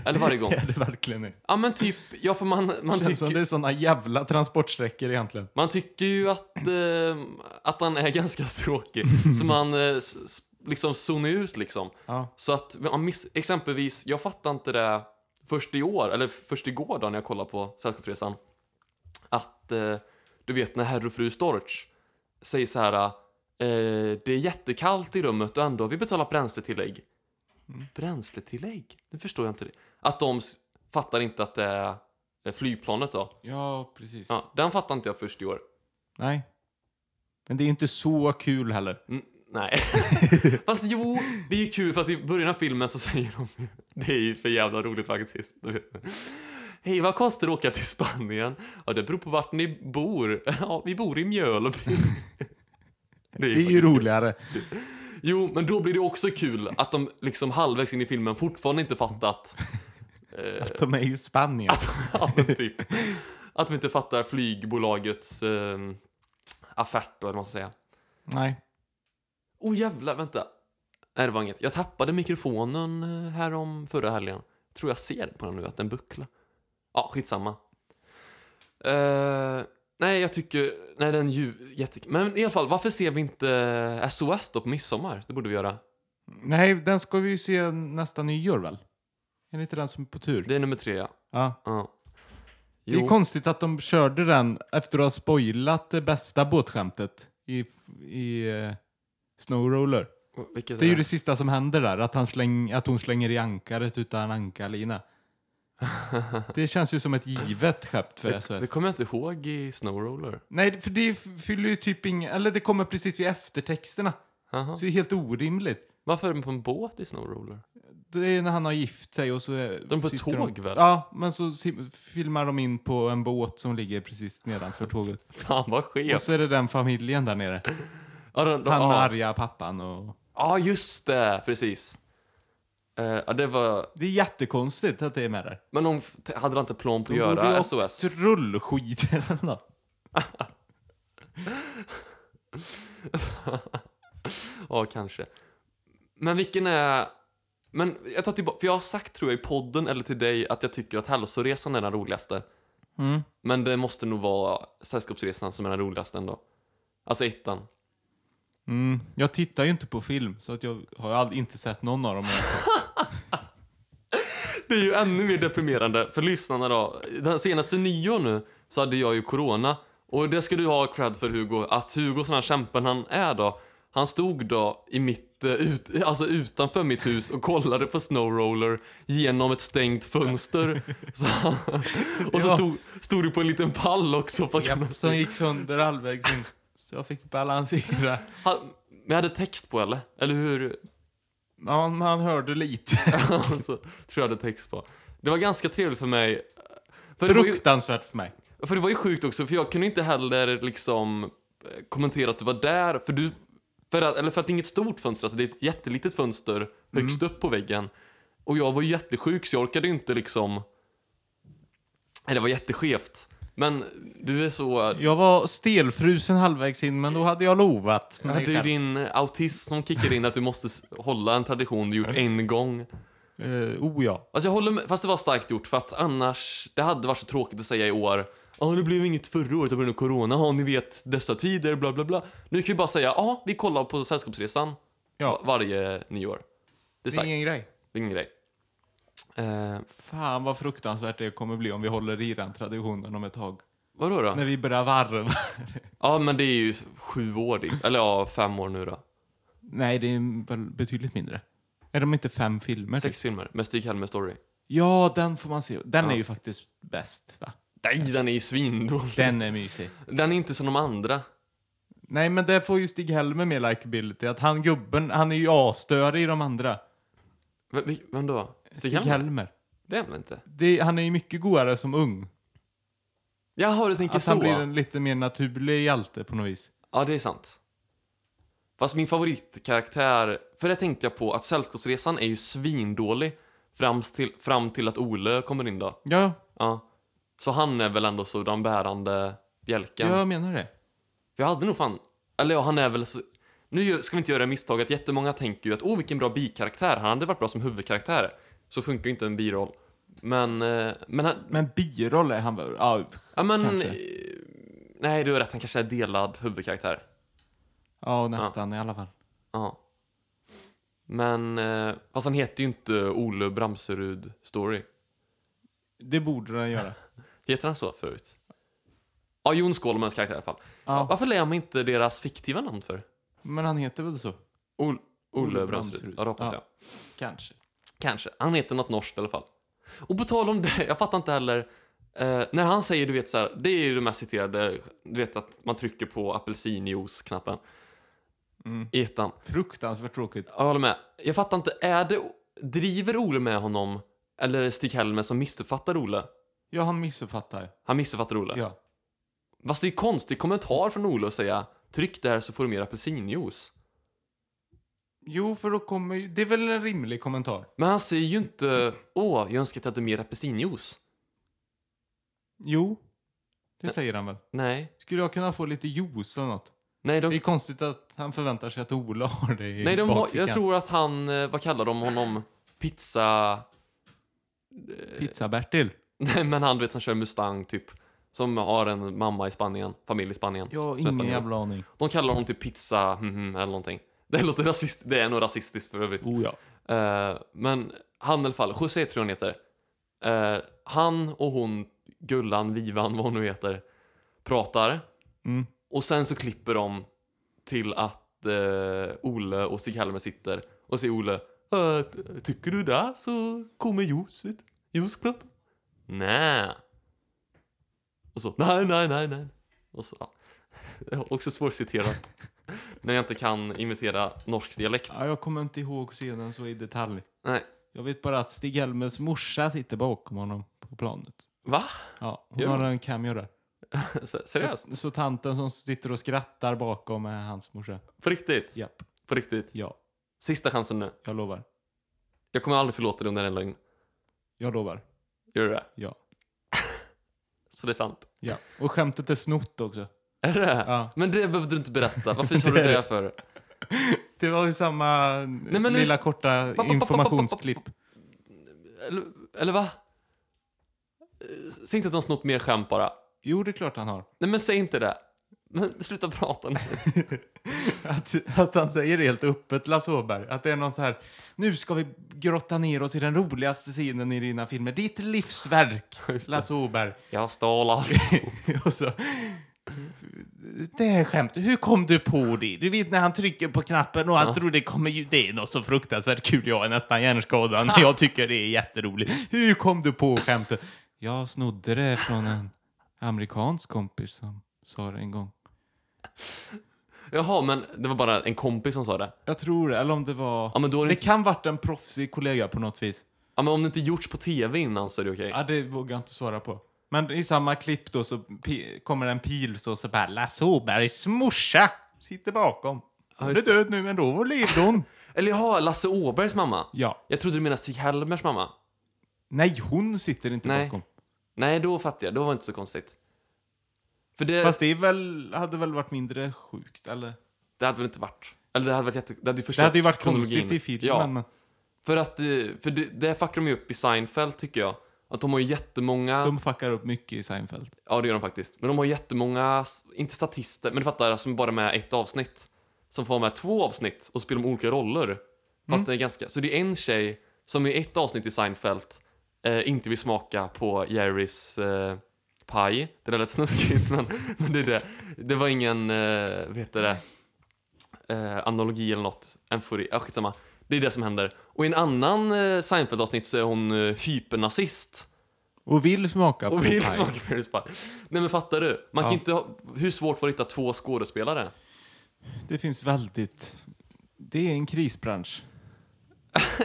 A: Eller varje gång.
B: Det är det verkligen det.
A: Ja, men typ... Ja, för man, man,
B: Känns som
A: tycker,
B: det är såna jävla transportsträckor egentligen.
A: man tycker ju att, eh, att han är [laughs] ganska tråkig. så man eh, s- s- liksom zonar ut liksom.
B: Ja.
A: Så att man miss, exempelvis, jag fattar inte det först i år, eller först igår då när jag kollade på Sällskapsresan. Att eh, du vet när herr och fru Storch säger så här. Eh, det är jättekallt i rummet och ändå har vi betalat bränsletillägg. Bränsletillägg? Nu förstår jag inte det. Att de s- fattar inte att det är eh, flygplanet då.
B: Ja, precis.
A: Ja, den fattar inte jag först i år.
B: Nej. Men det är inte så kul heller.
A: Mm,
B: [laughs]
A: Nej. Fast jo, det är ju kul för att i början av filmen så säger de ju- [laughs] Det är ju för jävla roligt faktiskt. du vet. Hej, vad kostar det att åka till Spanien? Ja, det beror på vart ni bor. [laughs] Ja, vi bor i Mjölby.
B: [laughs] Det är ju
A: faktiskt-
B: roligare.
A: Jo, men då blir det också kul att de liksom halvvägs in i filmen fortfarande inte
B: [laughs]
A: fattat eh,
B: Att de är i Spanien.
A: att, ja, men typ, att de inte fattar flygbolagets eh, affärt då, eller vad man ska säga.
B: Nej.
A: Oh jävlar, vänta. Nej, det var inget. Jag tappade mikrofonen eh, här om förra helgen. Tror jag ser på den nu att den bucklar. Ja, skitsamma. Eh, nej, jag tycker... Nej, den är ju jättekul. Men i alla fall, varför ser vi inte eh, SOS då på midsommar? Det borde vi göra.
B: Nej, den ska vi ju se nästa nyår väl? Är det inte den som är på tur?
A: Det är nummer tre, ja.
B: Ja.
A: ja.
B: Det är konstigt att de körde den efter att ha spoilat det bästa båtskämtet i, i eh, Snowroller.
A: vilket
B: Det är ju det sista som händer där, att, han släng, att hon slänger i ankaret
A: [laughs]
B: utan ankarlina. Det känns ju som ett givet skämt för SOS.
A: Det kommer jag inte ihåg i Snowroller.
B: Nej, för det f- fyller ju typ ingen... Eller det kommer precis vid eftertexterna.
A: Aha.
B: Så det är helt orimligt.
A: Varför är de på en båt i Snowroller? [laughs]
B: Det är när han har gift sig och så... är-
A: De är på
B: sitter
A: tåg väl?
B: Ja, men så si- filmar de in på en båt som ligger precis
A: [laughs]
B: nedanför tåget.
A: Fan vad
B: Och
A: skevt.
B: så är det den familjen
A: [laughs]
B: där nere.
A: Ja, de- de-
B: Han
A: ja.
B: med arga pappan och...
A: Ja, just det! Precis. Eh, ja, det var...
B: Det är jättekonstigt att det är med där.
A: Men de f- t- hade inte plan på att
B: De borde ju
A: göra
B: ha
A: SOS.
B: Rullskidor eller något.
A: Ja, kanske. Men vilken är... Men jag tar tillbaka, för jag har sagt tror jag i podden eller till dig att jag tycker att Hälsoresan är den roligaste.
B: Mm.
A: Men det måste nog vara Sällskapsresan som är den roligaste ändå. Alltså ettan.
B: Mm. Jag tittar ju inte på film, så att jag har ju aldrig inte sett någon
A: [laughs]
B: av dem.
A: Det är ju ännu mer deprimerande för lyssnarna då. Den senaste nyår nu så hade jag ju corona. Och det ska du ha cred för Hugo, att Hugo sån här kämpen han är då. Han stod då i mitt, eh, ut, alltså utanför mitt hus och kollade på snowroller genom ett stängt
B: [laughs]
A: fönster. Så, och så
B: Ja.
A: stod, stod du på en liten pall också. För att kunna
B: Japp,
A: se.
B: som gick sönder halvvägs in. Så jag fick balansera.
A: han, men jag hade text på eller? Eller hur? [laughs]
B: Man, man hörde lite.
A: alltså, tror jag hade text på. Det var ganska trevligt för mig. För det var ju-
B: Fruktansvärt för mig.
A: För det var ju sjukt också, för jag kunde inte heller liksom eh, kommentera att du var där, för du... För att, eller för att det är inget stort fönster, alltså det är ett jättelitet fönster högst upp på väggen. Och jag var ju jättesjuk så jag orkade ju inte liksom... Nej, det var jätteskevt. Men du är så...
B: Jag var stelfrusen halvvägs in, men då hade jag lovat.
A: Det
B: mig
A: är ju
B: själv.
A: din autism som kickar in att du måste s- hålla en tradition du gjort en gång.
B: Eh, oh ja.
A: Alltså jag håller med, fast det var starkt gjort för att annars, det hade varit så tråkigt att säga i år. Ja, det blev inget förra året på grund av corona, ja ni vet dessa tider, bla bla bla. Nu kan vi bara säga, ja vi kollar på Sällskapsresan
B: Ja.
A: va- varje nyår. Det är
B: Det är
A: starkt,
B: ingen grej.
A: det är ingen grej. Eh,
B: Fan vad fruktansvärt det kommer bli om vi håller i den traditionen om ett tag.
A: vadå då?
B: När vi börjar varva.
A: Ja men det är ju sju år dit, eller ja fem år nu då.
B: [laughs] Nej, det är väl betydligt mindre. Är de inte fem filmer? typ?
A: Sex filmer med Stig Helmer story.
B: Ja, den får man se. Den
A: Ja.
B: är ju faktiskt bäst, va?
A: Nej den är ju svindålig.
B: Den är mysig.
A: Den är inte som de andra.
B: Nej, men där får ju Stig-Helmer mer likability. Att han gubben, han är ju asstörig i de andra.
A: V- vil- vem då? Stig Helmer?
B: Stig-Helmer.
A: Det är väl inte?
B: Det, han är ju mycket godare som ung.
A: Jaha du tänker
B: Att
A: så?
B: han blir en lite mer naturlig hjälte på något vis.
A: Ja, det är sant. Fast min favoritkaraktär, för det tänkte jag på, att Sällskapsresan är ju svindålig fram till, fram till att Ole kommer in då.
B: Ja,
A: Ja. Så han är väl ändå så den bärande bjälken.
B: jag menar det.
A: För jag hade nog fan, eller ja, han är väl så... Nu gör- ska vi inte göra misstaget, jättemånga tänker ju att åh vilken bra bikaraktär, han hade varit bra som huvudkaraktär. Så funkar ju inte en biroll. Men, eh, men, han-
B: Men biroll är han väl? Ja,
A: ja men...
B: Kanske.
A: eh, Nej, du har rätt, han kanske är delad huvudkaraktär.
B: ja nästan i alla fall.
A: Ja. Men, eh, fast han heter ju inte Ole Bramserud Story.
B: Det borde den göra.
A: Heter han så förut? Ja, Jon Skålmans karaktär i alla fall.
B: [laughs] Ja.
A: Varför lär man inte deras fiktiva namn för?
B: Men han heter väl så?
A: Ol- Ole,
B: Ole
A: Bramserud.
B: Bramserud.
A: Ja, det hoppas
B: Ja.
A: jag.
B: Kanske.
A: Kanske. Han heter något norskt i alla fall. Och på tal om det, [laughs] jag fattar inte heller. Eh, när han säger, du vet så här, det är ju det mest citerade, du vet att man trycker på apelsinjuice-knappen.
B: Mm.
A: i ettan.
B: Fruktansvärt tråkigt.
A: Jag håller med. Jag fattar inte, är det... Driver Ole med honom? Eller är det Stig-Helmer som missuppfattar Ole?
B: Ja, han missuppfattar.
A: Han missuppfattar Ole.
B: Ja.
A: Fast det är konstig kommentar från Ole att säga Tryck där så får du mer apelsinjuice.
B: Jo, för då kommer ju... Det är väl en rimlig kommentar?
A: Men han säger ju inte Åh, jag önskar att jag hade mer apelsinjuice.
B: Jo. Det
A: Nej.
B: säger han väl.
A: Nej.
B: Skulle jag kunna få lite juice eller något?
A: Nej, de,
B: Det är konstigt att han förväntar sig att Ola har det i
A: nej de har,
B: bakfickan.
A: jag tror att han, eh, vad kallar de honom? Pizza... [laughs]
B: Pizza-Bertil.
A: Nej, men han du vet som kör Mustang typ. Som har en mamma i Spanien, familj i Spanien.
B: Jag har
A: som är
B: ingen
A: spanjor.
B: jävla aning.
A: De kallar honom typ pizza, mhm, eller någonting. Det låter rasist, det är nog rasistiskt för övrigt.
B: Oh ja.
A: Eh, men han i alla fall, José tror jag han heter. Eh, han och hon, Gullan, Vivan, vad hon nu heter, pratar.
B: Mm.
A: Och sen så klipper de till att eh, Ole och Stig-Helmer sitter och säger Ole "Eh, t- Tycker du det så kommer juice, vet du. Juice klart. Nä. Och så nej, nej, nej, nej. Och så, ja. Det var Också svårciterat. När jag inte kan imitera norsk dialekt.
B: Ja, jag kommer inte ihåg scenen så i detalj.
A: Nej.
B: Jag vet bara att Stig-Helmers morsa sitter bakom honom på planet.
A: Va?
B: Ja, hon
A: Gör
B: har
A: hon?
B: en cameo där.
A: S- Seriöst?
B: Så, så tanten som sitter och skrattar bakom är hans morsa.
A: På riktigt?
B: Japp.
A: På riktigt?
B: Ja,
A: Sista chansen nu.
B: jag lovar.
A: Jag kommer aldrig förlåta dig om det är en lögn.
B: Jag lovar.
A: Gör du det?
B: Ja.
A: [laughs] Så det är sant?
B: Ja. Och skämtet är snott också.
A: Är det det?
B: Ja.
A: Men det behövde du inte berätta. Varför sa du det för?
B: Det var ju samma
A: men nu-
B: lilla korta
A: pop, pop,
B: informationsklipp.
A: Eller, eller va? Eh, Säg inte att de snott mer skämt bara.
B: Jo, det är klart han har.
A: Nej men säg inte det. Men sluta prata nu.
B: Att, att han säger det helt öppet, Lasse Åberg. Att det är någon så här, nu ska vi grotta ner oss i den roligaste scenen i dina filmer. Ditt livsverk,
A: Just det.
B: Lasse Åberg.
A: Jag stal allt.
B: [laughs] Och så, det är skämt. Hur kom du på det? Du vet när han trycker på knappen och han tror det kommer ju... Det är något så fruktansvärt kul. Jag är nästan hjärnskadad, men jag tycker det är jätteroligt. Hur kom du på skämtet? Jag snodde det från en amerikansk kompis som sa det en gång.
A: [laughs] Jaha, men det var bara en kompis som sa det.
B: Jag tror det, eller om det var...
A: Ja men då är det,
B: det
A: inte...
B: kan varit en proffsig kollega på något vis.
A: Ja men om det inte gjorts på tv innan så är det okej.
B: Ja, det vågar jag inte svara på. Men i samma klipp då så pi- kommer en pil så, så bara Lasse Åbergs morsa sitter bakom. Hon är
A: just
B: död nu, men då
A: [laughs]
B: levde hon.
A: Eller jaha, Lasse Åbergs mamma.
B: ja.
A: Jag trodde du menade Stig-Helmers mamma.
B: Nej, hon sitter inte
A: Nej.
B: bakom.
A: Nej, då fattar jag. Då var det inte så konstigt. För det,
B: Fast det är väl, hade väl varit mindre sjukt, eller?
A: det hade väl inte varit... Eller det hade varit jätte... Det hade ju
B: Det
A: förstört
B: hade ju varit
A: kronologin.
B: konstigt i filmen.
A: Ja,
B: men
A: För att, eh, för det, det fuckar de ju upp i Seinfeld tycker jag. Att de har ju jättemånga,
B: De fuckar upp mycket i Seinfeld.
A: ja det gör de faktiskt, men de har jättemånga, s- inte statister, men du fattar, som bara är med ett avsnitt. Som får vara med två avsnitt och spelar de olika roller. Fast det är ganska, så det är en tjej som i ett avsnitt i Seinfeld eh, inte vill smaka på Jerrys eh, paj. Det där lät snuskigt [laughs] men, men det är det. Det var ingen, eh, vad heter det? eh, analogi eller något. En furi. Ah, skitsamma. Det är det som händer. Och i en annan eh, Seinfeld-avsnitt så är hon eh, hypernazist
B: Och vill smaka på
A: och vill
B: paj.
A: smaka på Harry Spy. Nej men fattar du? Man kan
B: Ja.
A: inte ha, hur svårt var det att hitta två skådespelare? [laughs]
B: Det finns väldigt... Det är en krisbransch.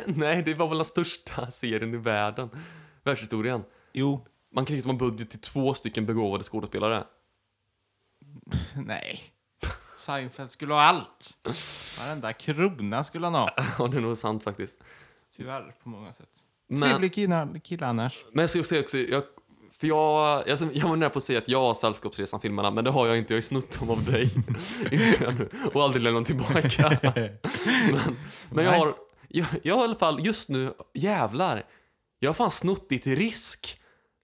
A: Nej, det var väl den största serien i världen. Världshistorien.
B: Jo.
A: Man kan inte ha en budget till två stycken begåvade skådespelare. [laughs]
B: Nej. Seinfeld skulle ha allt. Varenda krona skulle han ha.
A: Ja, det är nog sant faktiskt.
B: Tyvärr, på många sätt.
A: Men,
B: Trevlig kille, kille annars.
A: men jag ska säga också, jag, för jag, jag, jag var nära på att säga att jag har Sällskapsresan-filmerna, men det har jag inte. Jag har ju snott dem av dig. [laughs] Inser jag nu. Och aldrig lämnat tillbaka. men men jag
B: Nej.
A: har, jag, jag har i alla fall just nu, jävlar. Jag har fan snott ditt risk.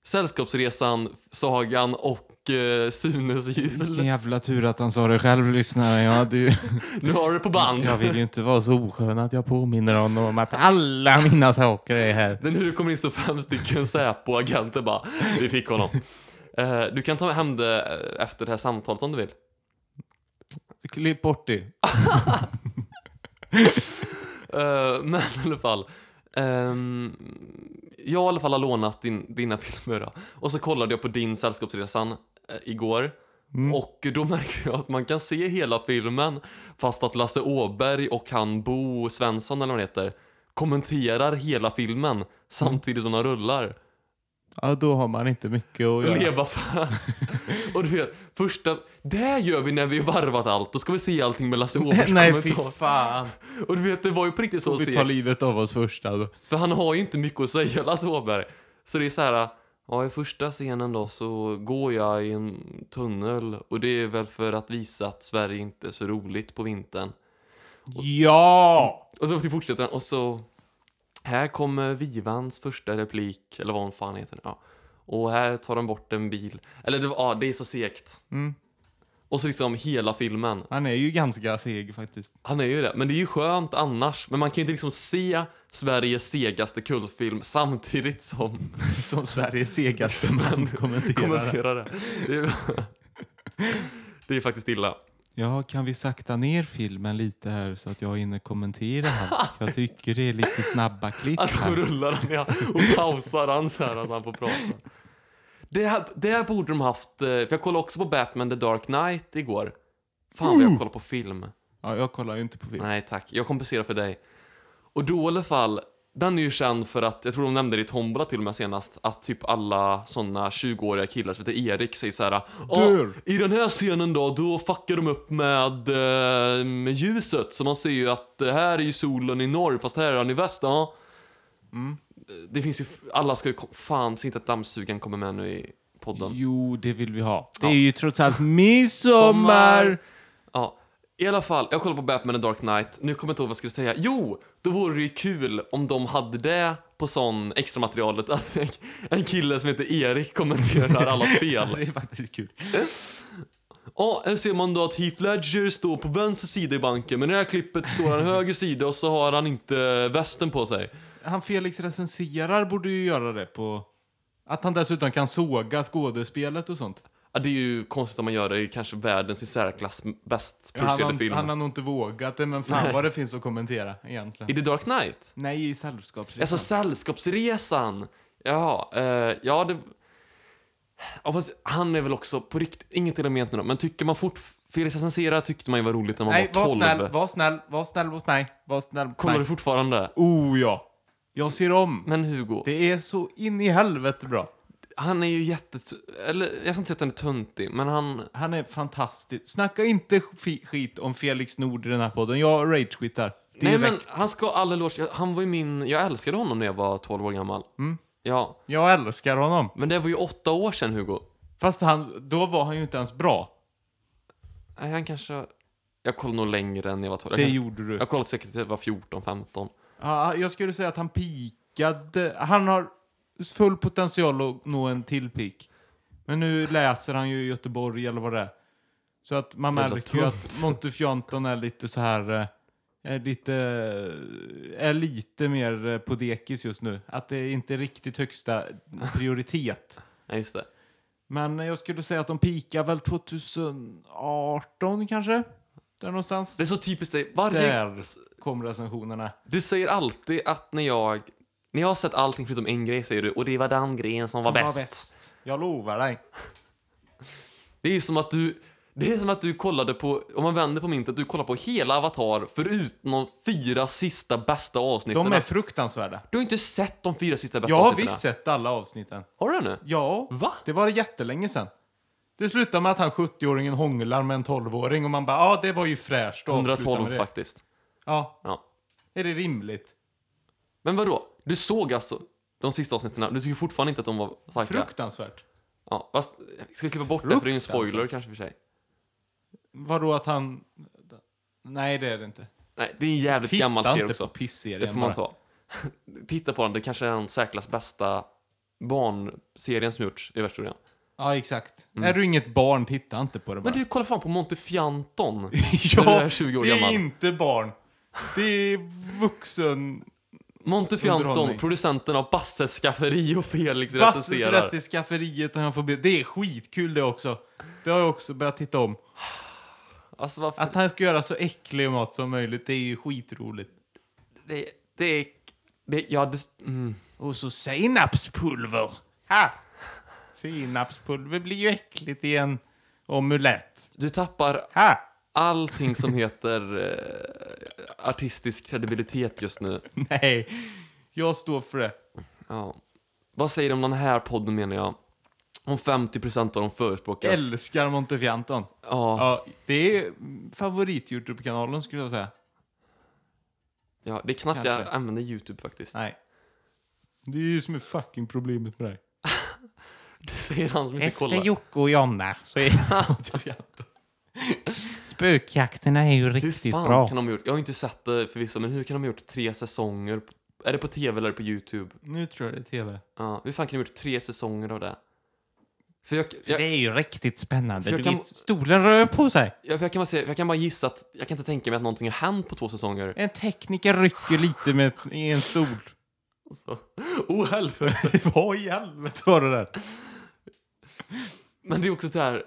A: Sällskapsresan, Sagan och eh, Sunes
B: Vilken [laughs]
A: jul.
B: jävla tur att han sa det själv, lyssnare. Jag, hade ju,
A: Nu har du det på band.
B: jag vill ju inte vara så oskön att jag påminner honom om att alla mina saker är här.
A: Det är nu det kommer in så fem stycken Säpo-agenter bara, vi fick honom. Eh, du kan ta hem det eh, efter det här samtalet om du vill.
B: Klipp bort det.
A: Eh, [laughs] men i alla fall. ehm, jag [laughs] i alla fall har lånat din, dina filmer. Då. Och så kollade jag på din Sällskapsresan eh, igår.
B: Mm.
A: Och då [laughs] märkte jag att man kan se hela filmen fast att Lasse Åberg och han Bo Svensson eller vad han heter kommenterar hela filmen
B: Mm.
A: samtidigt som de rullar.
B: Ja, då har man inte mycket att göra. [laughs]
A: Leva fan. [laughs] och du vet, första... Det här gör vi när vi varvat allt. Då ska vi se allting med
B: [laughs]
A: Lasse Åbergs
B: Nej, fy
A: kommentar. [laughs]
B: fan.
A: Och du vet, det var ju på riktigt så
B: Får
A: att
B: vi
A: se.
B: tar livet av oss först alltså.
A: För han har ju inte mycket att säga, Lasse Åberg. Så det är så här, ja i första scenen då så går jag i en tunnel och det är väl för att visa att Sverige inte är så roligt på vintern.
B: Ja!
A: Och så fortsätter han och så, här kommer Vivans första replik, eller vad hon fan heter nu, ja. Och här tar de bort en bil. Eller det, var- ja, det är så segt.
B: Mm.
A: Och så liksom hela filmen.
B: Han är ju ganska seg faktiskt. [laughs]
A: Han är ju det, men det är ju skönt annars. Men man kan ju inte liksom se Sveriges segaste kultfilm samtidigt som
B: Som Sveriges segaste man kommenterar.
A: kommentera det. Det är, det är [laughs] faktiskt illa.
B: Ja, kan vi sakta ner filmen lite här så att jag hinner kommentera
A: [laughs]
B: allt? Jag tycker det är lite snabba klipp
A: Att de
B: här.
A: rullar den ja, och pausar han så här att han får prata. Det här, det här borde de haft, eh, för jag kollade också på Batman The Dark Knight igår. Fan vad jag kollar på film.
B: Ja, jag kollar ju inte på film.
A: Nej tack, jag kompenserar för dig. Och då i alla fall, den är ju känd för att, jag tror de nämnde det i Tombola till och med senast, att typ alla såna 20-åriga killar som heter Erik säger så här.
B: Dör.
A: I den här scenen då, då fuckar de upp med, eh, med ljuset. Så man ser ju att eh, här är ju solen i norr, fast här är den i väst. Ja. Det finns ju, alla ska ju, ko- fan, se inte att dammsugaren kommer med nu i podden.
B: Jo, det vill vi ha. Det
A: Ja.
B: är ju trots
A: [laughs]
B: allt midsommar!
A: Ja, i alla fall. Jag kollar på Batman and Dark Knight. Nu kommer jag inte ihåg vad jag skulle säga. Jo, då vore det ju kul om de hade det på sån extra materialet att [laughs] en- en kille som heter Erik kommenterar alla fel.
B: [laughs] Det är faktiskt kul.
A: Ja, här ser man då att Heath Ledger står på vänster sida i banken, men i det här klippet står han höger sida och så har han inte västen på sig.
B: Han Felix recenserar borde ju göra det på... Att han dessutom kan såga skådespelet och sånt.
A: Ja, det är ju konstigt att man gör det i kanske världens i särklass bäst
B: Han,
A: producerade
B: har-
A: film.
B: han har nog inte vågat det, men fan
A: Nej.
B: vad det finns att kommentera
A: I
B: egentligen.
A: The Dark Knight?
B: Nej, i sällskapsresan.
A: Alltså Sällskapsresan! Ja, eh, ja det... Ja, fast han är väl också på riktigt, inget till dem egentligen men tycker man fort... Felix Asensera tyckte man ju var roligt när man
B: Nej,
A: var
B: var
A: 12.
B: snäll, var snäll, var snäll mot mig. Var snäll mot
A: Kollar
B: mig.
A: du fortfarande?
B: Oh ja! Jag ser om.
A: Men Hugo,
B: Det är så in i helvete bra.
A: han är ju jätte... Eller, jag ska inte säga att han är töntig, men han...
B: Han är fantastisk. Snacka inte fi- skit om Felix Nord i den här podden. Jag rage-skittar.
A: Nej
B: Direkt.
A: men, han ska ha all eloge. Jag- Han var ju min... Jag älskade honom när jag var 12 år gammal.
B: Mm.
A: Ja,
B: Jag älskar honom.
A: men det var ju åtta år sedan Hugo.
B: Fast han, då var han ju inte ens bra.
A: Nej, han kanske... Jag kollade nog längre än jag var 12.
B: Det
A: Jag, kanske...
B: gjorde du.
A: jag kollade säkert till jag var 14, 15.
B: Ja, jag skulle säga att han pikade. Han har full potential att nå en till pik. Men nu läser han ju i Göteborg eller vad det är. Så att man
A: Jävla
B: märker ju att
A: tunt.
B: Montefjanton är lite så här... eh, Är lite, är lite mer eh, på dekis just nu. Att det är inte är riktigt högsta prioritet.
A: Nej, just det.
B: Men jag skulle säga att de pikar väl 2018 kanske? Där någonstans.
A: Det är så typiskt dig. Varje...
B: Där kom recensionerna.
A: Du säger alltid att när jag... När jag har sett allting förutom en grej säger du och det var den grejen som, var, bäst.
B: Jag lovar dig.
A: Det är som att du... Det är som att du kollade på, om man vänder på myntet, du kollar på hela Avatar förutom de fyra sista bästa avsnitten.
B: De är fruktansvärda.
A: Du har inte sett de fyra sista bästa
B: Jag har
A: avsnitten.
B: visst sett alla avsnitten.
A: Har du det nu?
B: Ja,
A: Va?
B: det var jättelänge sedan. Det slutar med att han 70-åringen hånglar med en 12-åring och man bara ja, ah, det var ju fräscht att avsluta
A: 112
B: med det.
A: faktiskt.
B: Ja,
A: Ja.
B: är det rimligt?
A: Men vadå? Du såg alltså de sista avsnitten, du tycker fortfarande inte att de var starka?
B: Fruktansvärt.
A: Ja, fast jag ska klippa bort det för det är ju en spoiler kanske för sig.
B: Vadå att han... Nej, det är det inte.
A: Nej, det är en jävligt gammal
B: Titta
A: serie
B: inte
A: också.
B: på pisserien
A: Det får man ta. Titta på den, det kanske är den särklass bästa barnserien som gjorts i världshistorien.
B: Ja, exakt. Är du inget barn, titta inte på det bara.
A: Mm. Men du, kolla fan på Montefianton.
B: [laughs] ja,
A: du är 20 år
B: det är
A: gammal.
B: inte barn. Det är vuxen...
A: Montefianton,
B: Underhållning.
A: producenten av Basses skafferi och Felix
B: Basses
A: recenserar.
B: rätt i skafferiet och han får be. Det är skitkul det också. Det har jag också börjat titta om.
A: Alltså varför?
B: Att han ska göra så äcklig mat som möjligt, det är ju skitroligt.
A: Det, det är... Det, ja, det, mm.
B: Och så senapspulver! Ha! Senapspulver blir ju äckligt igen. Omulett.
A: Du tappar
B: Ha! [laughs]
A: allting som heter eh, artistisk kredibilitet just nu.
B: Nej, jag står för det.
A: Ja. Vad säger de om den här podden menar jag? Om 50% av dem förespråkar...
B: Älskar Montefianton.
A: ja,
B: Ja, det är favorit-Youtube-kanalen skulle jag säga.
A: ja, det är knappt jag
B: kanske.
A: använder YouTube faktiskt.
B: Nej. Det är ju som är fucking problemet med dig.
A: Det säger han som inte
B: Efter
A: kollar.
B: Jocke och Jonna så [laughs] är Montefianton. Spökjakterna är ju
A: Hur
B: riktigt
A: fan
B: bra.
A: kan de ha gjort? Jag har ju inte sett det förvisso, men hur kan de ha gjort tre säsonger? på- Är det på tv eller på YouTube?
B: Nu tror jag det är tv.
A: Ja, hur fan kan de ha gjort tre säsonger av det? För jag, jag,
B: Det är ju riktigt spännande.
A: För jag
B: Du
A: kan-
B: vet, stolen rör på sig.
A: jag, jag, kan bara se, jag kan bara gissa att jag kan inte tänka mig att någonting har hänt på två säsonger.
B: En tekniker rycker lite med i en stol.
A: Så. Oh, helvete!
B: [laughs] Vad i Alltså. helvete var det där?
A: Men det är också det här...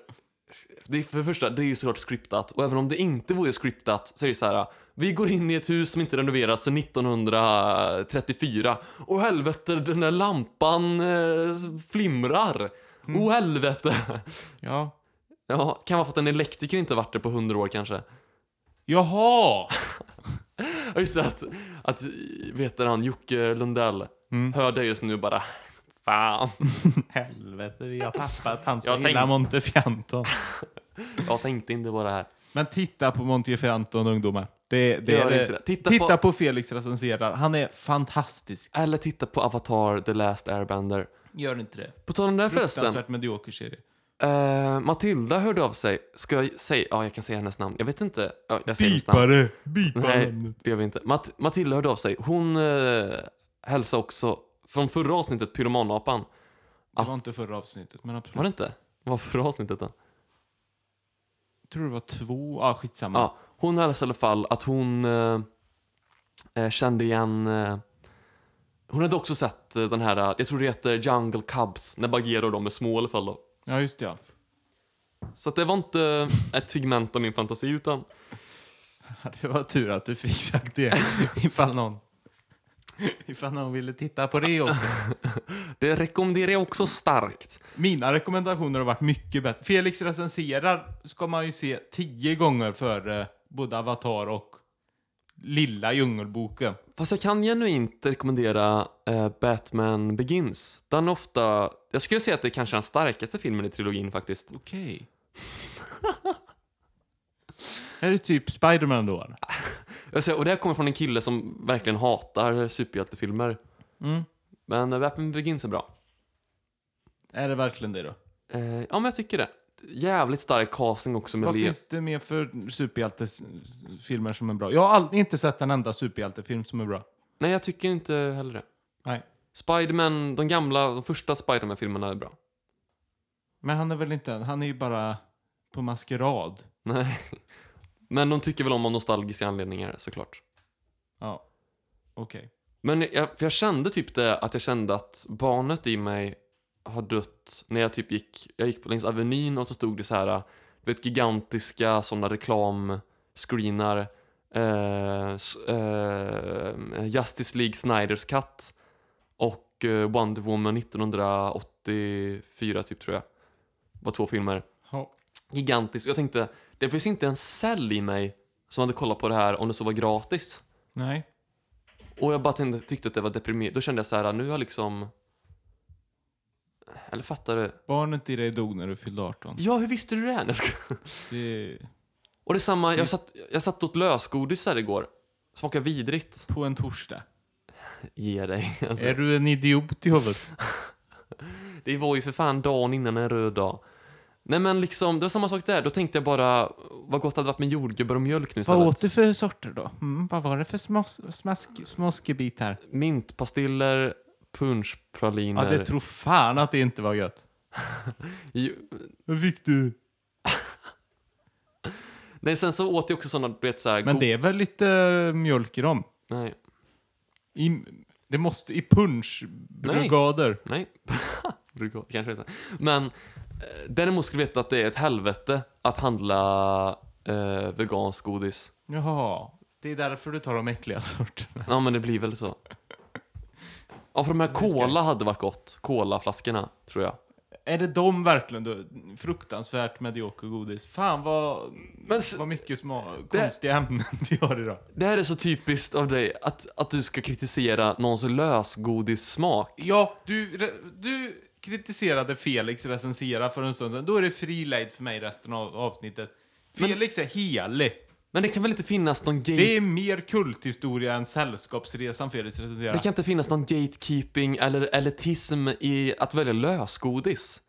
A: Det är för det första, det är ju såklart scriptat. Och även om det inte vore scriptat så är det så här. Vi går in i ett hus som inte renoverats sedan 1934. Och helvete, den där lampan eh, flimrar.
B: Mm.
A: Åh Oh helvete!
B: Ja.
A: Ja, kan vara för att en elektriker inte varit där på 100 år kanske.
B: Jaha! [laughs]
A: Ja, Just det, att, att vet du han, Jocke Lundell,
B: Mm.
A: hör det just nu bara. Fan,
B: Helvete, vi har tappat han
A: Jag
B: som gillar
A: tänkte-
B: Montefianton.
A: jag tänkte inte på det här.
B: Men titta på Montefianton ungdomar. Det, det
A: Gör
B: är det.
A: inte det. Titta
B: titta
A: på-
B: på... Felix recenserar. Han är fantastisk.
A: Eller titta på Avatar The Last Airbender.
B: Gör inte det.
A: På tal om det här förresten.
B: Fruktansvärt medioker serie.
A: Eh, Matilda hörde av sig. Ska jag säga? Ja, jag kan säga hennes namn. Jag vet inte. Ja, jag säger hennes namn.
B: Bipare! Bipa
A: Nej,
B: namnet.
A: det gör vi inte. Mat- Matilda hörde av sig. Hon eh, hälsade också från förra avsnittet, Pyromanapan.
B: Det var inte förra avsnittet, men absolut.
A: Var det inte? Vad var förra avsnittet då?
B: tror det var två. Ah, skitsamma.
A: Ja, hon hälsade i alla fall att hon eh, eh, kände igen... Eh, hon hade också sett eh, den här, eh, jag tror det heter Jungle Cubs, när Bagheera och de är små i alla fall då.
B: Ja, just det. Ja. [laughs]
A: Så att det var inte eh, ett figment av min fantasi utan
B: Det var tur att du fick sagt det. [laughs] Ifall någon, ifall någon ville titta på det också.
A: det rekommenderar jag också starkt.
B: Mina rekommendationer har varit mycket bättre. Felix recenserar ska man ju se tio gånger före både Avatar och Lilla Djungelboken.
A: Fast jag kan genuint rekommendera eh, Batman Begins. Den är ofta, jag skulle säga att det är kanske den starkaste filmen i trilogin faktiskt.
B: Okej. [laughs] är det typ Spiderman då? eller?
A: Jag säger, och det här kommer från en kille som verkligen hatar superhjältefilmer.
B: Mm.
A: Men eh, Batman Begins är bra.
B: Är det verkligen det då?
A: Eh, ja, men jag tycker det. Jävligt stark casting också med
B: Vad
A: Le...
B: finns det mer för superhjältefilmer som är bra? Jag har aldrig, inte sett en enda superhjältefilm som är bra.
A: Nej, jag tycker inte heller det.
B: Nej.
A: Spiderman, de gamla, de första Spiderman-filmerna är bra.
B: Men han är väl inte, han är ju bara på maskerad.
A: Nej. [laughs] Men de tycker väl om av nostalgiska anledningar såklart.
B: Ja. Okej.
A: Men jag, för jag kände typ det att jag kände att barnet i mig har dött när jag typ gick, jag gick på längs Avenyn och så stod det så här, du vet gigantiska sådana reklamscreenar. Eh, s- eh, Justice League Snyders Cut och eh, Wonder Woman 1984 typ tror jag. Var två filmer.
B: Ja.
A: Gigantisk. Jag tänkte, det finns inte en cell i mig som hade kollat på det här om det så var gratis.
B: Nej.
A: Och jag bara tänkte, tyckte att det var deprimerande. Då kände jag så här, nu har liksom... Eller fattar du?
B: Barnet i dig dog när du fyllde 18.
A: Ja, hur visste du det? här? Jag ska-
B: Det är
A: Och det är samma, jag satt, jag satt åt lösgodis här igår. Smakar vidrigt.
B: på en torsdag.
A: Ge dig. [laughs] Alltså,
B: Är du en idiot i huvudet?
A: Det var ju för fan dagen innan en röd dag. Nej men liksom, det var samma sak där. Då tänkte jag bara, vad gott det hade varit med jordgubbar och mjölk nu
B: Vad
A: istället.
B: åt du för sorter då? Mm, vad var det för smas, smask, smaskebitar?
A: Mintpastiller,
B: Ja,
A: punschpraliner.
B: det tror fan att det inte var gött.
A: ju-
B: Vad fick du?
A: Nej, sen så åt jag också sådana, du vet såhär...
B: Men det är väl lite eh, mjölk i dem?
A: Nej,
B: I, det måste i punschbrigader.
A: Nej, Brukar- kanske inte. Men eh, däremot skulle du veta att det är ett helvete att handla eh, vegansk godis.
B: Jaha. Det är därför du tar de äckliga [laughs] sorterna.
A: Ja, men det blir väl så. Ja, för de här
B: ska jag-
A: cola hade varit gott. Colaflaskorna, tror jag.
B: Är det de verkligen då? Fruktansvärt medioker godis. Fan vad,
A: Men s-
B: vad mycket små, konstiga ämnen vi har idag.
A: Det här är så typiskt av dig, att, att du ska kritisera någons lösgodissmak.
B: Ja, du, re- du kritiserade Felix recensera för en stund sedan. Då är det fri lejd för mig resten av avsnittet. Felix är helig.
A: Men det kan väl inte finnas någon gate...
B: Det
A: Det,
B: är mer kulthistoria än Sällskapsresan Felix recenserar.
A: kan inte finnas någon gatekeeping eller elitism i att välja lösgodis.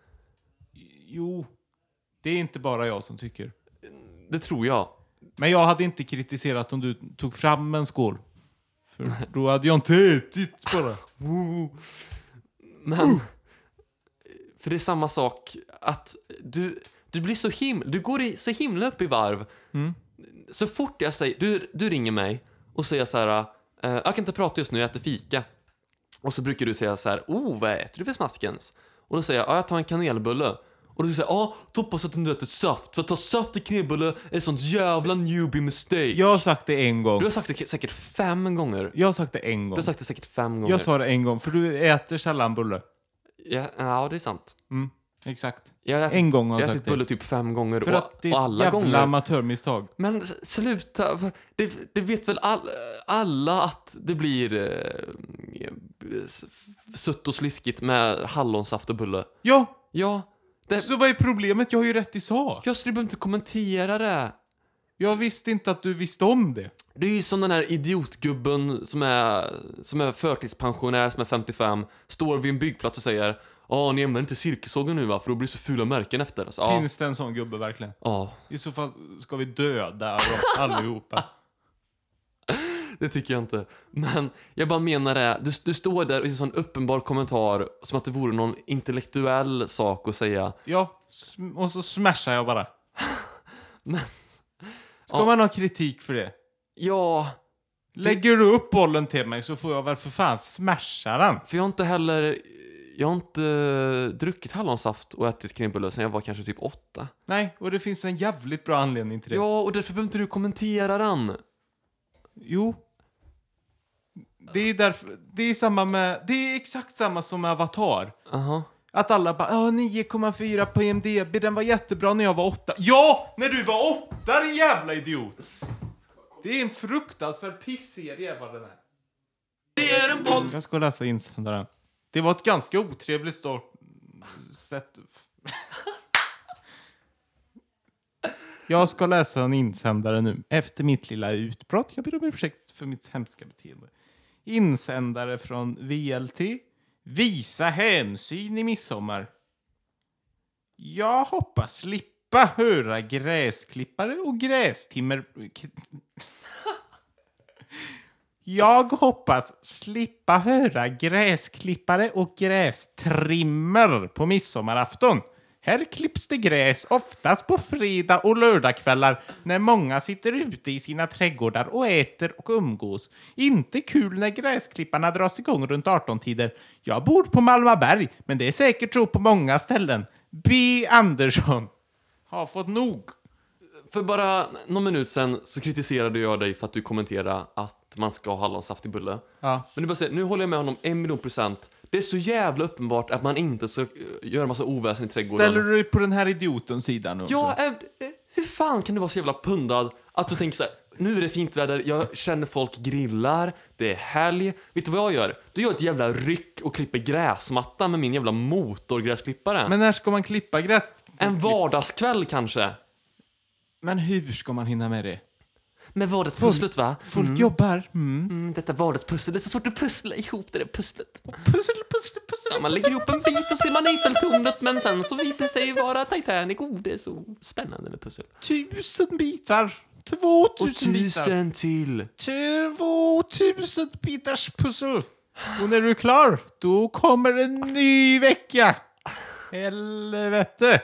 B: Jo, det är inte bara jag som tycker.
A: Det tror jag.
B: Men jag hade inte kritiserat om du tog fram en skål. För då hade jag inte ätit bara. Woo. Uh.
A: Men... [laughs] För det är samma sak att du, du blir så himla... Du går i, så himla upp i varv.
B: Mm.
A: Så fort jag säger... Du, du ringer mig och säger så här... eh, jag kan inte prata just nu, jag äter fika. Och så brukar du säga så här... Oh, vad äter du för smaskens? Och då säger jag... Ja, jag tar en kanelbulle. Och du säger ja, hoppas att du inte äter saft. För att ta saft i kanelbulle är ett sånt jävla newbie mistake.
B: Jag har sagt det en gång.
A: Du har sagt det säkert fem gånger. Du
B: Jag har sagt det en gång.
A: har sagt det säkert fem gånger.
B: Jag sa det en gång, för du äter sällan bulle.
A: ja, ja, det är sant.
B: Mm, exakt.
A: Jag äter
B: En gång har
A: Jag
B: jag
A: har
B: sagt
A: ätit
B: det.
A: bulle typ fem gånger
B: För
A: och,
B: att det är
A: och
B: ett
A: alla
B: jävla
A: gånger.
B: amatörmisstag.
A: Men s- sluta, v- det, det vet väl all, alla att det blir eh, s- s- sött och sliskigt med hallonsaft och bulle.
B: Ja,
A: Ja, det,
B: så vad är problemet? Jag har ju rätt i sak.
A: jag skulle behöva inte kommentera det.
B: Jag visste inte att du visste om det.
A: Det är ju som den här idiotgubben som är, som är förtidspensionär, som är 55, står vid en byggplats och säger Ja, ni använder inte cirkelsågen nu va? För då blir det så fula märken efter. Så, ja,
B: Finns det en sån gubbe verkligen?
A: ja,
B: I så fall ska vi döda [laughs] dem allihopa.
A: Det tycker jag inte. Men jag bara menar det, du, du står där och gör en sån uppenbar kommentar som att det vore någon intellektuell sak att säga.
B: Ja, sm- och så smashar jag bara.
A: [laughs] Men-
B: Ska
A: Ja.
B: man ha kritik för det?
A: Ja,
B: Lägger du upp bollen till mig så får jag väl för fan smasha den.
A: för jag har inte heller, jag har inte druckit hallonsaft och ätit knäckebröd sedan jag var kanske typ åtta.
B: Nej, och det finns en jävligt bra anledning till det.
A: Ja, och därför behöver inte du kommentera den.
B: Jo. Det är därför, det är samma med, det är exakt samma som med Avatar.
A: Aha.
B: Att alla bara "Åh, 9,4 på E IMDB, den var jättebra när jag var åtta. Ja! När du var åtta din jävla idiot! Det är en fruktansvärd pisserie vad den är. Det är en podd! Jag ska läsa insändaren. Det var ett ganska otrevligt start... Sätt... Jag ska läsa en insändare nu. Efter mitt lilla utbrott. Jag ber om ursäkt för mitt hemska beteende. Insändare från VLT. Visa hänsyn i midsommar. Jag hoppas slippa höra gräsklippare och grästimmer... Jag hoppas slippa höra gräsklippare och grästrimmer på midsommarafton. Här klipps det gräs oftast på fredag och lördagkvällar när många sitter ute i sina trädgårdar och äter och umgås. Inte kul när gräsklipparna dras igång runt 18-tider. Jag bor på Malmaberg, men det är säkert så på många ställen. B. Andersson. Har fått nog.
A: För bara någon minut sen så kritiserade jag dig för att du kommenterade att man ska ha hallonsaft i bulle.
B: Ja.
A: Men du bara säger, nu håller jag med honom en miljon procent. Det är så jävla uppenbart att man inte ska eh, göra massa oväsen i trädgården.
B: Ställer du dig på den här idiotens sida nu? också?
A: Ja, eh, eh, hur fan kan du vara så jävla pundad att du tänker så här, nu är det fint väder, jag känner folk grillar, det är helg. Vet du vad jag gör? Du gör ett jävla ryck och klipper gräsmattan med min jävla motorgräsklippare.
B: Men när ska man klippa gräs?
A: en vardagskväll kanske?
B: Men hur ska man hinna med det?
A: Med vardagspusslet va?
B: Folk jobbar. Mm.
A: Mm, detta vardagspussel, det är så svårt att pussla ihop det där pusslet.
B: Pussel, pussel, pussel.
A: Ja, man lägger ihop en bit och ser man Eiffeltornet men sen så visar det sig vara Titanic. Oh, det är så spännande med pussel.
B: Tusen bitar. Två tusen bitar.
A: till!
B: Två tusen bitars pussel. Och när du är klar, då kommer en ny vecka. Helvete.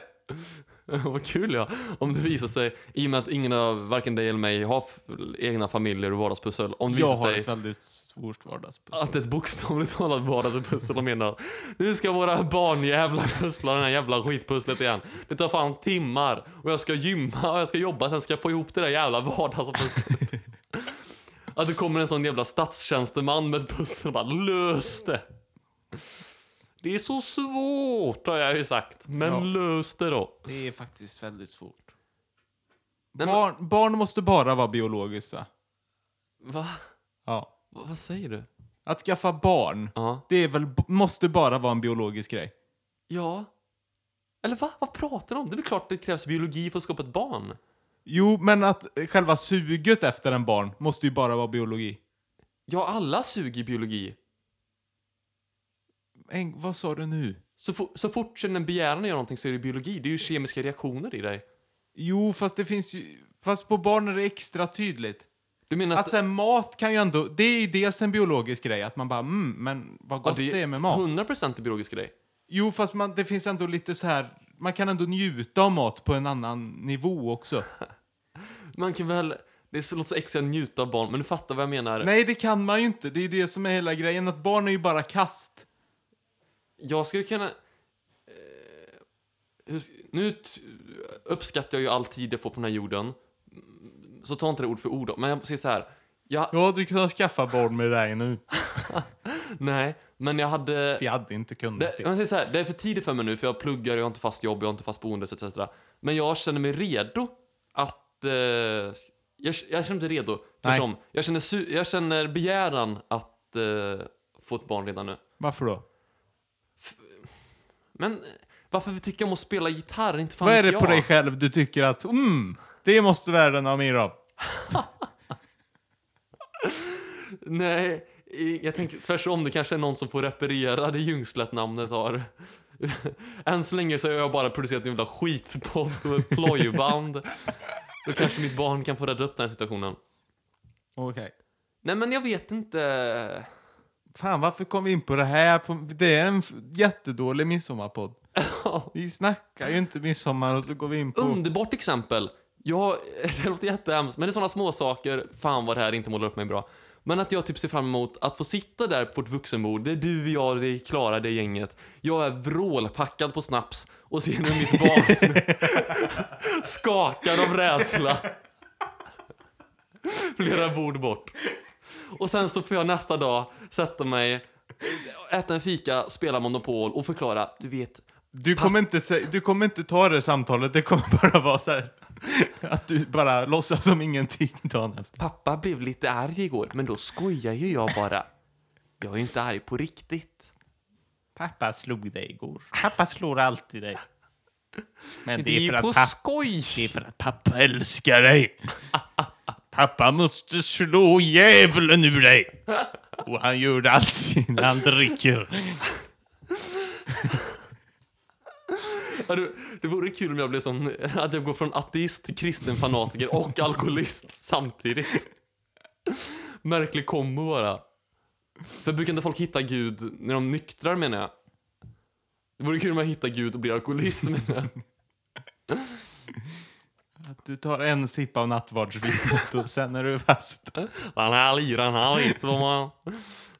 A: [laughs] Vad kul ja, om det visar sig, i och med att ingen av varken dig eller mig har f- egna familjer och vardagspussel, om det
B: Jag
A: visar
B: har
A: sig
B: ett väldigt svårt vardagspussel.
A: att ett bokstavligt talat vardagspussel och menar nu ska våra barnjävlar pussla det här jävla skitpusslet igen. Det tar fan timmar och jag ska gymma och jag ska jobba sen ska jag få ihop det där jävla vardagspusslet.
B: [laughs]
A: Att det kommer en sån jävla statstjänsteman med ett pussel och bara lös det. Det är så svårt har jag ju sagt. Men
B: Ja.
A: lös det då.
B: Det är faktiskt väldigt svårt.
A: Nej, men-
B: Barn, barn måste bara vara biologiskt, va?
A: Va?
B: Ja.
A: Va vad säger du?
B: Att skaffa barn,
A: Ja.
B: det är väl, måste bara vara en biologisk grej.
A: Ja. Eller va? Vad pratar du om? Det är väl klart det krävs biologi för att skapa ett barn?
B: Jo, men att själva suget efter en barn måste ju bara vara biologi.
A: Ja, alla suger i biologi.
B: En, vad sa du nu?
A: Så, fo- så fort känner en begäran gör någonting så är det biologi. Det är ju kemiska reaktioner i dig.
B: Jo, fast det finns ju... Fast på barn är det extra tydligt.
A: Du menar att...
B: Att sen mat kan ju ändå... Det är ju dels en biologisk grej, att man bara mm, men vad
A: ja,
B: gott det, är med mat.
A: 100% är biologisk grej.
B: Jo, fast man, det finns ändå lite så här... Man kan ändå njuta av mat på en annan nivå också.
A: Man kan väl... Det är så- låter så äckligt att njuta av barn, men du fattar vad jag menar.
B: Nej, det kan man ju inte. Det är ju det som är hela grejen, att barn är ju bara kast.
A: Jag skulle kunna... Eh, hur, nu t- uppskattar jag ju all tid jag får på den här jorden. Mm, Så ta inte det ord för ord då. Men jag säger så här. Jag,
B: Jag hade kunnat skaffa barn med dig nu.
A: nej, men jag hade...
B: Vi hade inte kunnat
A: Det,
B: det.
A: jag säger så här, det är för tidigt för mig nu för jag pluggar, jag har inte fast jobb, jag har inte fast boende etc. Men jag känner mig redo att... Eh, jag, jag känner mig redo.
B: Nej.
A: Tvärtom. Jag känner, su- jag känner begäran att eh, få ett barn redan nu.
B: Varför då?
A: Men eh, varför vi tycker om att spela gitarr? Inte fan
B: Vad är
A: vet
B: det på
A: jag.
B: dig själv du tycker att mm, det måste världen ha mer av?
A: Nej, i- jag tänker tvärsom. Det kanske är någon som får reparera det Ljungslätt-namnet har. [laughs] Än så länge så har jag bara producerat en jävla skitpodd och ett plojband. Då kanske mitt barn kan få rädda upp den här situationen.
B: Okej.
A: Nej, men jag vet inte.
B: Fan, varför kom vi in på det här? På- Det är en f- jättedålig midsommarpodd. Vi snackar ju inte midsommar och så går vi in på...
A: Underbart exempel. Jag, [laughs] det låter jättehemskt, men det är sådana små saker. Fan vad det här inte målar upp mig bra. Men att jag typ ser fram emot att få sitta där på ett vuxenbord. Det är du, jag, det är Klara, det är gänget. Jag är vrålpackad på snaps och ser hur mitt barn [laughs] skakar av rädsla. Flera bord bort. Och sen så får jag nästa dag sätta mig, äta en fika, spela Monopol och förklara. Du vet,
B: Du, kommer inte sä- du kommer inte ta det samtalet, det kommer [laughs] bara vara så här. Att du bara låtsas som ingenting dagen efter.
A: Pappa blev lite arg igår, men då skojar ju jag bara. Jag är ju inte arg på riktigt.
B: Pappa slog dig igår. Pappa slår alltid dig. Men
A: Det är ju på skoj!
B: för att pappa älskar dig. Pappa måste slå djävulen ur dig. Och han gör det alltid när han dricker.
A: Ja, du, det vore kul om jag blev sån, att jag går från ateist till kristen fanatiker [laughs] och alkoholist samtidigt. Märklig kombo bara. För brukar inte folk hitta Gud när de nyktrar menar jag? Det vore kul om jag hittar Gud och blir alkoholist menar jag.
B: Att du tar en sipp av nattvardsvinet och sen är du fast.
A: Han är lir, han är lit, vad man...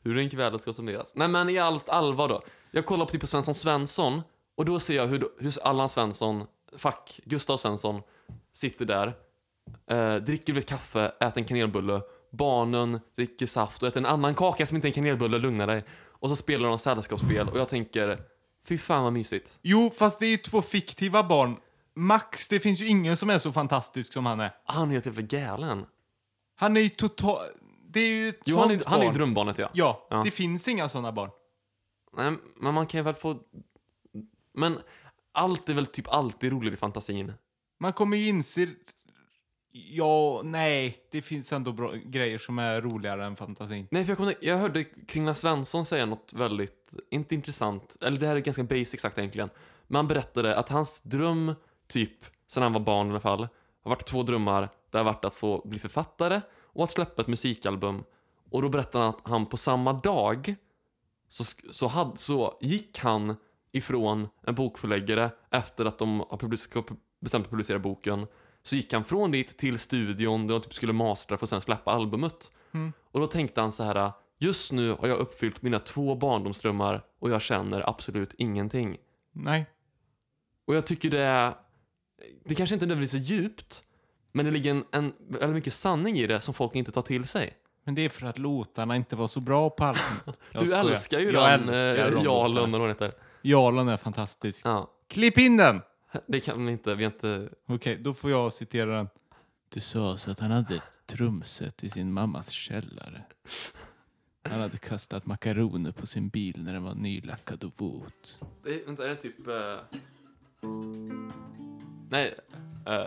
A: Hur en kväll ska summeras. Nej men i allt allvar då. Jag kollar på typ på Svensson Svensson och då ser jag hur, hur Allan Svensson, fuck, Gustav Svensson sitter där, eh, dricker väl kaffe, äter en kanelbulle, barnen dricker saft och äter en annan kaka som inte är en kanelbulle, lugna dig. Och så spelar de sällskapsspel och jag tänker, fy fan vad mysigt.
B: Jo, fast det är ju två fiktiva barn. Max, det finns ju ingen som är så fantastisk som han är.
A: Han är helt jävla galen.
B: Han är ju total... Det är ju ett
A: Jo, han
B: sånt
A: är, han är
B: barn.
A: drömbarnet ja.
B: ja,
A: Ja.
B: det finns inga såna barn.
A: Nej, men man kan ju väl få... Men allt är väl typ alltid roligt i fantasin?
B: Man kommer ju inse... Ja, nej. Det finns ändå bra grejer som är roligare än fantasin.
A: Nej, för jag, kom, jag hörde Kringla Svensson säga något väldigt, inte intressant, eller det här är ganska basic sagt egentligen. Men han berättade att hans dröm, typ, sen han var barn i alla fall, har varit två drömmar. Det har varit att få bli författare och att släppa ett musikalbum. Och då berättade han att han på samma dag så, sk- så, hade, så gick han ifrån en bokförläggare efter att de har public- ska pu- bestämt att publicera boken. Så gick han från dit till studion där de typ skulle mastra för att sen släppa albumet. Och då tänkte han så här, just nu har jag uppfyllt mina två barndomsdrömmar och jag känner absolut ingenting.
B: Nej.
A: Och jag tycker det är, det kanske inte nödvändigtvis är djupt, men det ligger en, en väldigt mycket sanning i det som folk inte tar till sig.
B: Men det är för att låtarna inte var så bra på alla.
A: [laughs]
B: Jag
A: Du
B: skojar.
A: älskar ju
B: jag
A: den
B: älskar
A: eh, Jarlen,
B: de låtarna.
A: eller vad den heter.
B: Jarlen är fantastisk.
A: Ja,
B: Klipp in den!
A: det kan vi inte, vi har inte...
B: Okej, då får jag citera den. Det sades att han hade ett trumset i sin mammas källare. Han hade kastat makaroner på sin bil när den var nylackad och våt.
A: Det, är- vänta, är det typ... eh, Nej. eh,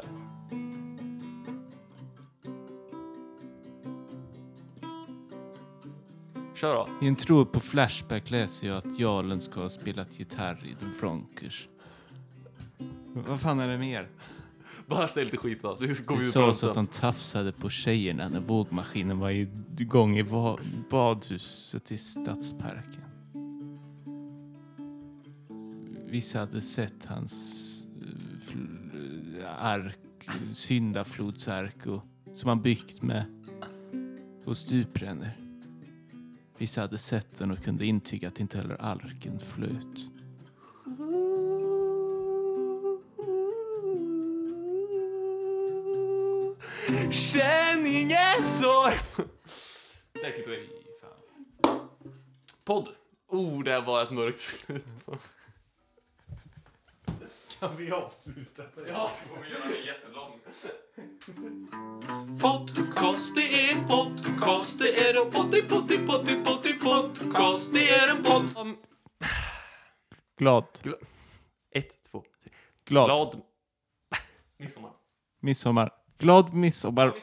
A: Kör då.
B: I en tråd på Flashback läser jag att Jarlen ska ha spelat gitarr i The Bronkers. Vad fan är det mer?
A: Bara ställ lite skit då, så går vi
B: Det
A: ut på
B: sades att
A: rösten.
B: han tafsade på tjejerna när vågmaskinen var igång i va- badhuset i Stadsparken. Vissa hade sett hans eh, fl- eh, ark, syndaflodsark och, som han byggt med och stuprännor. Vissa hade sett den och kunde intyga att inte heller arken flöt.
A: Känn ingen sorg! Där klipper vi. Podd. Oh, det här var ett mörkt slut.
B: Kan vi avsluta på
A: Ja, det får vi göra en jättelång. Podcast, det är en podcast, det är en potti, potti, potti, potti, podcast, det är en podd. Om-
B: Glad.
A: Ett, två, tre. [laughs]
B: Glad.
A: Glad midsommar.
B: Midsommar. Glad midsommar.